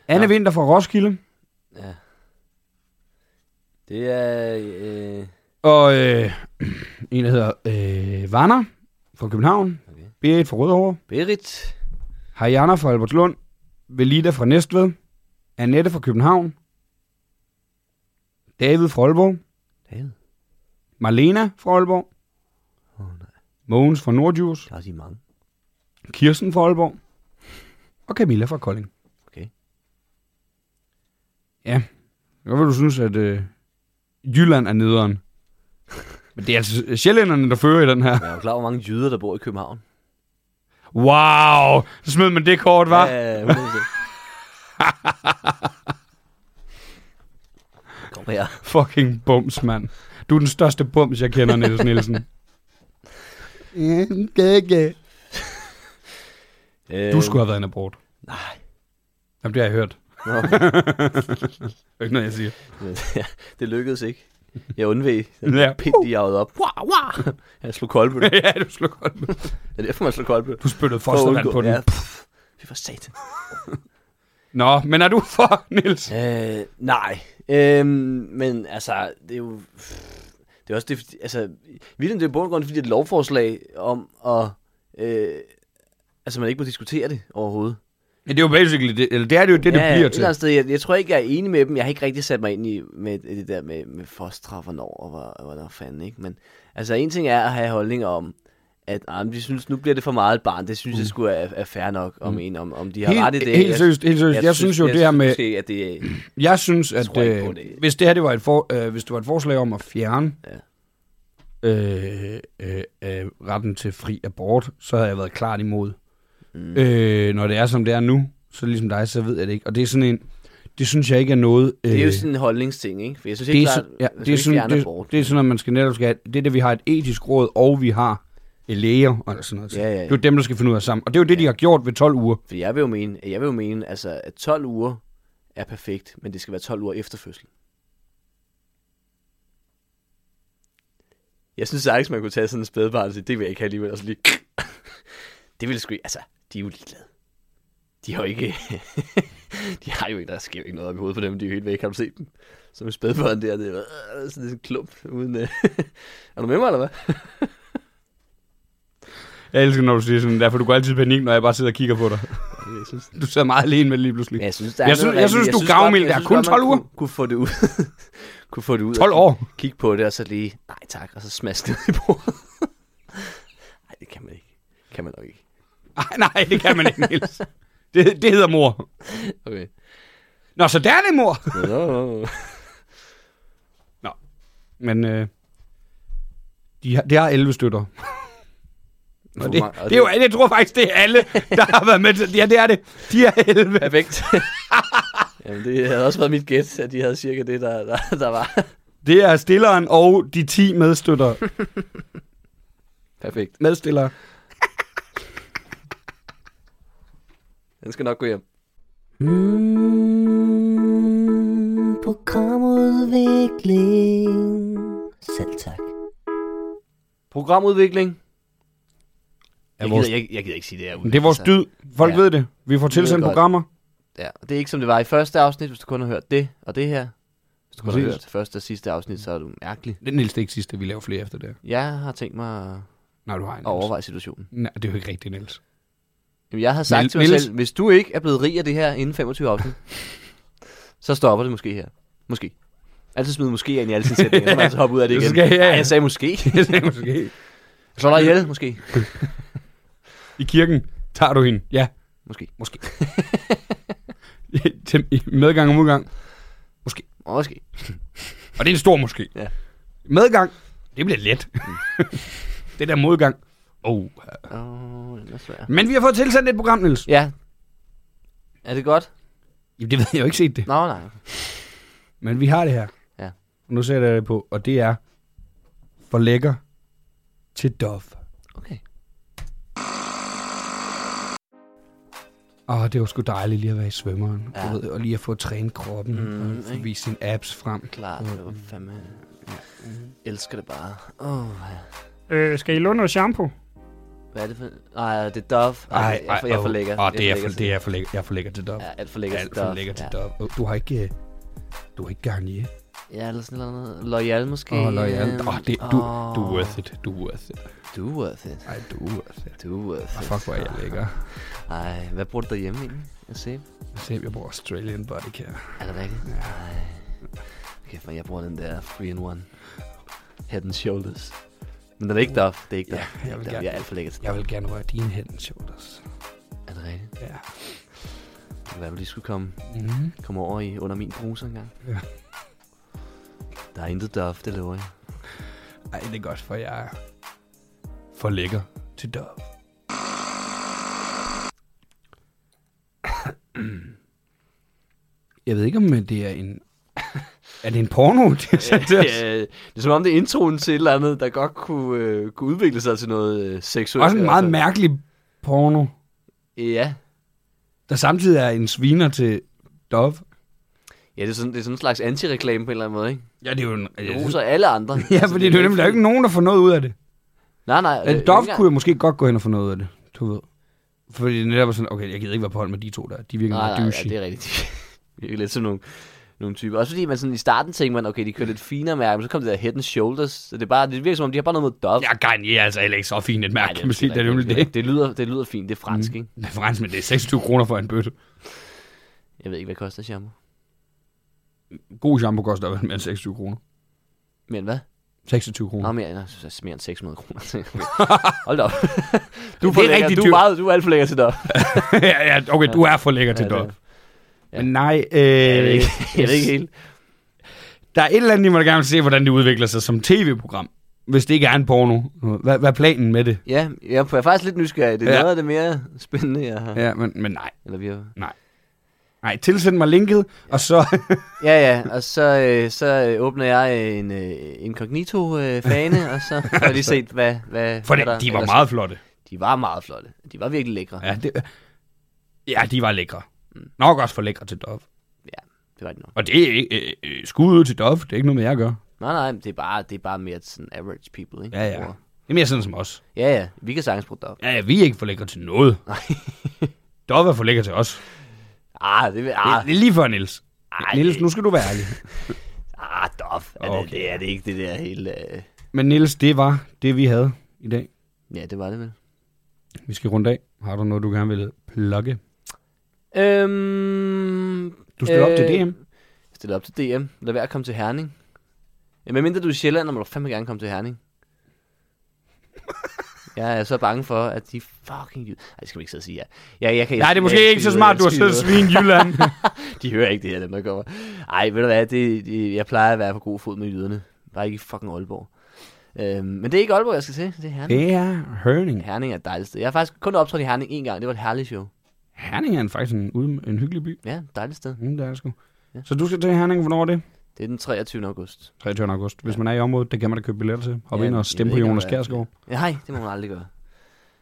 S4: Anne
S3: Ja.
S4: Vinter fra Roskilde,
S3: Ja. Det er... Øh,
S4: og øh, en, der hedder øh, Vanner fra København, okay.
S3: Okay.
S4: Berit fra Rødovre,
S3: Berit.
S4: Hajana fra Albertslund, Velida fra Næstved, Annette fra København, David fra Aalborg,
S3: David.
S4: Marlena fra Aalborg,
S3: Åh, oh, nej.
S4: Mogens fra Nordjurs,
S3: Der er de mange.
S4: Kirsten fra Aalborg og Camilla fra Kolding.
S3: Okay.
S4: Ja, hvad vil du synes, at øh, Jylland er nederen? Men det er altså sjællænderne, der fører i den her.
S3: Jeg er jo klar, hvor mange jyder, der bor i København.
S4: Wow, så smed man det kort, var. Ja,
S3: Ja, 100%. Kom her.
S4: Fucking bums, mand. Du er den største bums, jeg kender, Niels Nielsen.
S3: Øh,
S4: Du skulle have været en abort.
S3: Nej.
S4: Jamen, det har jeg hørt.
S3: Nå,
S4: Det er ikke noget, jeg siger.
S3: ja, det lykkedes ikke. Jeg undveg den
S4: Ja.
S3: ja. pind, de jagede op. Wow, wow. Jeg slog koldbøl.
S4: ja, du slog godt. med.
S3: Det er derfor, man slår koldbøl.
S4: Du spyttede fostervand på den.
S3: Ja, pff. Fy for satan.
S4: Nå, men er du for, Niels?
S3: Øh, nej. Øh, men altså, det er jo... Det er også det, fordi- altså, vildt det er i bund og grund, fordi det er et lovforslag om at... Øh, altså, man ikke må diskutere det overhovedet.
S4: Ja, det er jo basically det, eller det er det jo det, det
S3: ja,
S4: bliver
S3: et
S4: til.
S3: Eller andet sted, jeg, jeg, tror ikke, jeg er enig med dem. Jeg har ikke rigtig sat mig ind i med det der med, med fostre, hvornår og hvor, hvornår fanden, ikke? Men altså, en ting er at have holdninger om, at ah, men vi synes, nu bliver det for meget et barn. Det synes mm. jeg skulle er, er fair nok om mm. en, om, om de har ret i det.
S4: Helt
S3: Jeg-
S4: seriøst, helt seriøst. Jeg, jeg synes jo, det her med...
S3: måske, at det,
S4: Jeg synes, at
S3: tror ikke på
S4: øh,
S3: det.
S4: hvis det her det var et, for, øh, hvis det var et forslag om at fjerne øh, øh, øh, retten til fri abort, så havde jeg været klart imod. Mm. Øh, når det er, som det er nu, så ligesom dig, så ved jeg det ikke. Og det er sådan en... Det synes jeg ikke er noget... Øh,
S3: Det er jo sådan en holdningsting, ikke? For jeg synes
S4: det,
S3: ikke
S4: er,
S3: klart,
S4: så- ja, det, er sådan, det,
S3: abort.
S4: det er sådan, at man skal netop skal have, det er det, vi har et etisk råd, og vi har læger, og sådan noget.
S3: Ja, ja, ja.
S4: Det er jo dem, der skal finde ud af sammen. Og det er jo det, de har gjort ved 12 uger.
S3: For jeg vil jo mene, jeg vil jo mene altså, at 12 uger er perfekt, men det skal være 12 uger efter fødslen. Jeg synes sagtens, man kunne tage sådan en spædbarn og sige, det vil jeg ikke have alligevel, og så lige... det ville sgu ikke- Altså, de er jo ligeglade. De har jo ikke... de har jo ikke, der sker jo ikke noget op i hovedet på dem, de er jo helt væk, har du set dem? Som en spædbarn der, det er øh, sådan en klump uden... øh. er du med mig, eller hvad?
S4: Jeg elsker, når du siger sådan der, for du går altid i panik, når jeg bare sidder og kigger på dig.
S3: Jeg synes,
S4: Du sidder meget alene med det lige pludselig.
S3: jeg synes, der
S4: Jeg
S3: er
S4: synes-
S3: noget
S4: jeg
S3: rigtigt.
S4: synes, du er
S3: godt-
S4: gavmild.
S3: jeg
S4: Der er
S3: synes
S4: kun
S3: godt, man
S4: 12 uger.
S3: Kunne, kunne få det ud. kunne få det ud.
S4: 12
S3: og
S4: år.
S3: Kigge på det, og så lige, nej tak, og så smaske det i bordet. Nej, det kan man ikke. Kan man nok ikke.
S4: Ej, nej, det kan man ikke, Niels. Det, det hedder mor.
S3: Okay.
S4: Nå, så der er det mor.
S3: Nå.
S4: Men øh, de har, det har 11 støtter. Og det,
S3: mange- og
S4: det, er jo, jeg tror faktisk, det er alle, der har været med til. Ja, det er det. De er 11.
S3: Perfekt. Jamen, det havde også været mit gæt, at de havde cirka det, der, der, der var.
S4: Det er stilleren og de 10 medstøtter.
S3: Perfekt.
S4: Medstillere.
S3: Den skal nok gå hjem.
S8: Mm, programudvikling. Selv tak.
S3: Programudvikling. Jeg
S4: vores-
S3: gider, jeg, jeg gider ikke sige det her. ud.
S4: Det er vores
S3: Altså,
S4: dyd. Folk
S3: Ja.
S4: ja. ved det. Vi får
S3: Vi ved
S4: tilsendt
S3: godt.
S4: programmer.
S3: Ja, og det er ikke som det var i første afsnit, hvis du kun har hørt det og det her. Hvis du kun har
S4: Præcis.
S3: hørt første og sidste afsnit, så er du mærkelig.
S4: Det er Niels, det er ikke sidste, vi laver flere efter det.
S3: Jeg har tænkt mig
S4: Nej, du har en.
S3: at overveje situationen.
S4: Nej, det er jo ikke rigtigt, Niels.
S3: Jamen, jeg havde sagt
S4: Niel-
S3: til mig
S4: Niels?
S3: selv, hvis du ikke er blevet rig af det her inden 25 afsnit, så stopper det måske her. Måske. Altid smide måske ind i alle sine sætninger, så må jeg altså hoppe ud af det
S4: Det
S3: igen.
S4: skal jeg.
S3: Nej, jeg sagde måske.
S4: Det er måske.
S3: Slå dig ihjel, måske.
S4: I kirken tager du hende. Ja,
S3: Måske.
S4: måske. Til- i Medgang og modgang.
S3: Måske.
S4: Og det er en stor måske.
S3: Ja.
S4: Medgang, det bliver let. det der modgang. Oh.
S3: Åh, oh, den er svær.
S4: Men vi har fået tilsendt et program, Niels.
S3: Ja. Er det godt?
S4: Jamen, det ved jeg jeg har jo ikke set det.
S3: Nå, nej.
S4: Men vi har det her.
S3: Ja.
S4: Nu sætter jeg det på, og det er for lækker til Dove.
S3: Okay.
S4: Åh, det var sgu dejligt lige at være i svømmeren, ja.
S3: Ja.
S4: du ved, og lige at få trænet kroppen, mm,
S3: Mm,
S4: og få
S3: ikke?
S4: vist sine abs frem.
S3: Klart, det
S4: Mm.
S3: var fandme... Elsker det bare. Åh, oh,
S9: Øh, skal I låne noget shampoo?
S3: hvad er det for... Nej, det er Dove. Ej,
S4: Ej,
S3: jeg, jeg, jeg er for lækker.
S4: Åh, det
S3: Jeg
S4: er for,
S3: lækker
S4: det er for lækker, jeg er for lækker til
S3: til-
S4: Dove.
S3: Ja,
S4: Ja,
S3: alt for lækker til
S4: Alt for
S3: Dove.
S4: lækker til
S3: ja.
S4: Dove. Åh, Du har ikke, øh, du har ikke Garnier.
S3: Ja, eller sådan noget. Loyal måske.
S4: Åh, loyal.
S3: øhm,
S4: Åh, det, du, du er
S3: åh,
S4: worth it, du er worth it.
S3: Du er worth it.
S4: Ej, du er worth it.
S3: Du er worth
S4: Ah,
S3: it.
S4: fuck, hvor er jeg lækker.
S3: Ej, hvad bruger du derhjemme egentlig? Jeg ser.
S4: Jeg ser, jeg bruger Australian body care.
S3: Er det rigtigt? Ej. Kæft, man, jeg bruger den der 3 in 1. Head and shoulders. Men den er ikke Dove. Det er ikke Dove. Det er
S4: jeg
S3: ikke
S4: vil
S3: Dove.
S4: gerne-
S3: Jeg er alt for lækker til
S4: Jeg vil gerne røre dine head and shoulders.
S3: Er det rigtigt?
S4: Ja.
S3: Hvad du lige skulle komme,
S4: Mm.
S3: komme over i under min bruser engang?
S4: Ja.
S3: Der er intet Dove, det lover jeg.
S4: Ej, det er godt, for jeg er for lækker til Dove. Jeg ved ikke, om øh, det er en... er det en porno, de har sendt til os?
S3: Ja, det er som om det er introen til et eller andet, der godt kunne, øh, kunne udvikle sig til noget øh, seksuelt.
S4: Også en
S3: i hvert
S4: meget
S3: fald.
S4: mærkelig porno,
S3: Ja.
S4: der samtidig er en sviner til Dove.
S3: ja, det er sådan, det er sådan en slags antireklame på en eller anden måde, ikke?
S4: Ja, det er jo en...
S3: Det Altså, roser alle andre.
S4: Ja, fordi det er jo nemlig der er jo ikke nogen, der får noget ud af det.
S3: Nej, nej.
S4: En
S3: øh,
S4: Dove
S3: ikke engang-
S4: kunne jeg måske godt gå hen og få noget ud af det, du ved. Fordi det netop er sådan, okay, jeg gider ikke være på hold med de to der. De virker
S3: Nej,
S4: meget
S3: nej, ja,
S4: douchey.
S3: det er rigtigt. Det er lidt sådan nogle, nogle typer. Også fordi man sådan i starten tænkte man, okay, de kører lidt finere mærke, men så kom det der head and shoulders. Så det, er bare, det virker som om, de har bare noget med Dove.
S4: Ja, Garnier er altså heller ikke så fint et mærke,
S3: det
S4: kan man sige. Det er nemlig det.
S3: det. Det lyder, det lyder fint, det er fransk, mm. ikke?
S4: Det er fransk, men det er 26 kroner for en bøtte.
S3: Jeg ved ikke, hvad koster shampoo.
S4: God shampoo koster vel mere end 26 kroner.
S3: Men hvad?
S4: 26 kroner.
S3: Nå, mere, nej, så er det mere end 600 kroner. Hold da op. Du er,
S4: Det
S3: for
S4: er
S3: lækker.
S4: rigtig
S3: du er,
S4: dyrt.
S3: meget, du er alt for lækker til dig.
S4: ja, ja, okay, du er for lækker til
S3: Ja, det er-
S4: Dove.
S3: ja.
S4: Men nej, øh,
S3: Jeg ved ikke, jeg ved ikke helt.
S4: der er et eller andet, I må da gerne se, hvordan det udvikler sig som tv-program. Hvis det ikke er en porno. Hvad, hvad er planen med det?
S3: Ja, jeg er faktisk lidt nysgerrig. Det er
S4: Ja.
S3: ja. noget af det mere spændende, jeg har. Ja.
S4: Ja, men, men nej.
S3: Eller vi har.
S4: Nej, tilsend mig linket, og så...
S3: Ja, ja, og så, øh, så øh, åbner jeg en øh, incognito-fane, øh, og så får jeg lige set, hvad, hvad,
S4: For
S3: hvad
S4: det, de var
S3: ellers-
S4: meget flotte.
S3: De var meget flotte. De var virkelig lækre. Ja.
S4: Ja, det, ja, de var lækre.
S3: Mm.
S4: Nok også for lækre til Dove.
S3: Det var de nok.
S4: Og det er ikke øh, øh, skud ud til Dove. Det er ikke noget med, jeg gør.
S3: Nej, nej, men det er bare, det er bare mere sådan average people, ikke?
S4: Ja, ja.
S3: Bruger.
S4: Det er mere sådan som os.
S3: Ja, ja. Vi kan sagtens bruge dig.
S4: Ja, ja, vi er ikke for lækre til noget.
S3: Nej.
S4: Dove er for lækker til os.
S3: Ah, det vil...
S4: Ah.
S3: Ah,
S4: Det er lige før, Niels.
S3: Ej.
S4: Niels, nu skal du være ærlig.
S3: ah dof. Er
S4: Okay.
S3: det, det, er det ikke det der hele... Øh...
S4: Men Niels, det var det, vi havde i dag.
S3: Ja, det var det vel.
S4: Vi skal runde af. Har du noget, du gerne vil plukke?
S3: Øhm,
S4: Du stiller øh... op til DM.
S3: Jeg stiller op til DM. Lad være at komme til Herning. Ja, Men mindre du er i Sjælland, må du fandme gerne komme til Herning. Jeg er så bange for, at de fucking... jyd- Ej, det skal vi ikke sidde og sige, ja. Jeg, jeg kan,
S4: Nej, det er måske
S3: jeg-
S4: ikke så smart, du har
S3: jeg-
S4: siddet og svin i Jylland.
S3: De hører ikke det her, dem der kommer. Ej, ved du hvad, det, det- jeg plejer at være på god fod med jyderne. Bare ikke i fucking Aalborg. Øhm, men det er ikke Aalborg, jeg skal til. Det er Herning.
S4: det er Herning.
S3: Herning er et dejligt sted. Jeg har faktisk kun optrådt i Herning en gang. Det var et herligt show.
S4: Herning er en- faktisk en, ude- en hyggelig by.
S3: Ja, et dejligt sted.
S4: Mm, det er det sgu.
S3: Ja.
S4: Så du skal til Herning, hvornår er det?
S3: Det er den 23. august.
S4: 23. august. Hvis man er i området, det kan man da købe billetter til. Hop
S3: Ja,
S4: ja, ind
S3: jeg
S4: og stemme
S3: ved
S4: på
S3: ikke, om
S4: Jonas
S3: jeg-
S4: Kjærsgaard.
S3: Ja, hej, det må man aldrig gøre.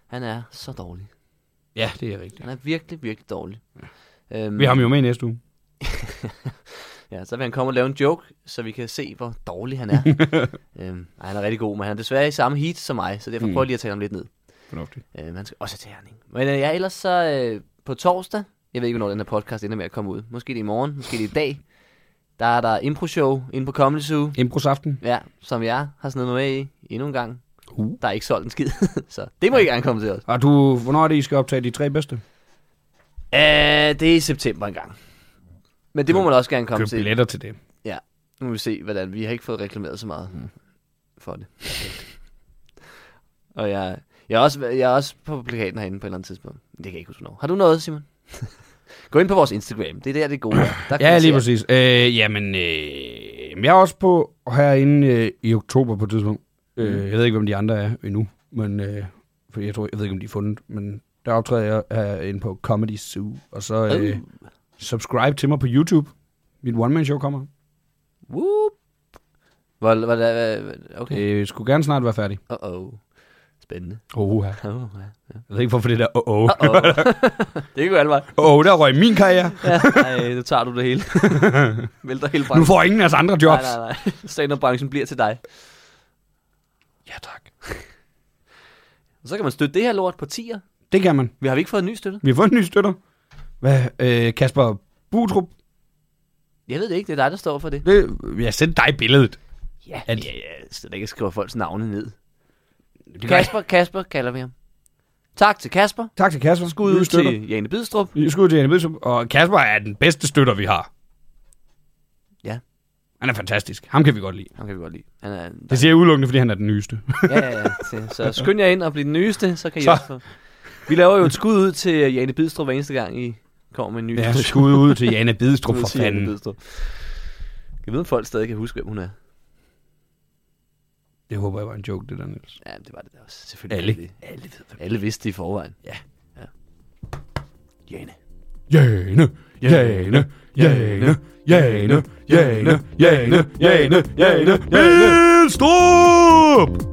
S3: Han er så dårlig.
S4: Ja, det er rigtigt.
S3: Han er virkelig, virkelig dårlig. Øhm,
S4: Vi har ham jo med i næste uge.
S3: Ja, så vil han komme og lave en joke, så vi kan se, hvor dårlig han er. øhm, ej, han er rigtig god, men han er desværre i samme heat som mig, så derfor
S4: Mm.
S3: prøver jeg lige at tale ham lidt ned.
S4: Fornuftigt.
S3: Øh, man skal også til Herning. Men øh, jeg ellers så øh, på torsdag, jeg ved ikke, hvornår den her podcast ender med at komme ud. Måske det er i morgen, måske det er i dag. Der er der impro-show inde på Comedy Zoo.
S4: Improsaften.
S3: Ja, som jeg har snedet mig med i endnu en gang.
S4: Uh.
S3: Der er ikke solgt en skid, så det må I gerne komme til os.
S4: Og du, hvornår er det, I skal optage de tre bedste?
S3: Øh, det er i september engang. Men det må man også gerne komme
S4: Køb
S3: til.
S4: billetter til det.
S3: Nu må vi se, hvordan vi har ikke fået reklameret så meget mm. for det. og jeg, jeg, er også, jeg er også på plakaten herinde på et eller andet tidspunkt. Men Det kan jeg ikke huske hvornår. Har du noget, Simon? Gå ind på vores Instagram. Det er der, det er gode. er. Der kan
S4: Ja,
S3: man se-
S4: lige præcis. Øh, jamen, øh, jamen, jeg er også på herinde øh, i oktober på et tidspunkt.
S3: Mm.
S4: Øh, jeg ved ikke, hvem de andre er endnu, men øh, for jeg, tror, jeg ved ikke, om de er fundet, men der optræder jeg herinde på Comedy Zoo, og så øh, subscribe til mig på YouTube. Mit one-man-show kommer.
S3: Whoop. Hvor, hvor, hvor, hvor, okay.
S4: Det skulle gerne snart være færdig.
S3: Uh-oh. Spændende.
S4: Oh, ja.
S3: Oh, ja.
S4: Jeg ved ikke, hvorfor det der oh, oh.
S3: Uh-oh. det kan gå alle veje.
S4: oh, der røg min karriere.
S3: Ja. Ej, nu tager du det hele. Vælter hele
S4: Nu
S3: branchen.
S4: får ingen af os andre jobs.
S3: Nej, nej, nej. Stand-up-branchen bliver til dig.
S4: Ja, tak.
S3: Og så kan man støtte det her lort på 10'er.
S4: Det kan man.
S3: Vi har vi ikke fået en ny støtte.
S4: Vi har fået en ny støtter. Hvad? Øh, Kasper Butrup.
S3: Jeg ved det ikke, det er dig, der står for det.
S4: Det, jeg sendte dig billedet.
S3: Ja,
S4: At-
S3: at... jeg, jeg sidder ikke og skriver folks navne ned.
S4: gør
S3: Kasper, Kasper kalder vi ham. Tak til Kasper.
S4: Tak til Kasper.
S3: Skud
S4: Nye
S3: ud
S4: støtter.
S3: til Jane Bidstrup.
S4: Skud til Anne Bidstrup. Og Kasper er den bedste støtter, vi har.
S3: Ja.
S4: Han er fantastisk. Ham kan vi godt lide.
S3: Ham kan vi godt lide. Han er,
S4: Det siger jeg udelukkende, fordi han er den nyeste.
S3: ja, ja, ja. Så- Så skynd jer ind og bliv den nyeste, så kan I også få. Vi laver jo et skud ud til Jane Bidstrup hver eneste gang, I kommer med en ny
S4: Ja,
S3: skud
S4: skud ud til Jana Bidstrup
S3: ud
S4: for
S3: til Jane
S4: fanden.
S3: Bidstrup. Jeg ved, om folk stadig kan huske, hvem hun er.
S4: Det håber jeg var en joke, det der, Niels.
S3: Ja, det var det da også. Selvfølgelig.
S4: Alle.
S3: kan de Det. Alle, ved, Alle vidste det i forvejen. Ja. ja. Jane.
S4: Jane, Jane, Jane, Jane, Jane, Jane, Jane, Jane, Jane, Bidstrup!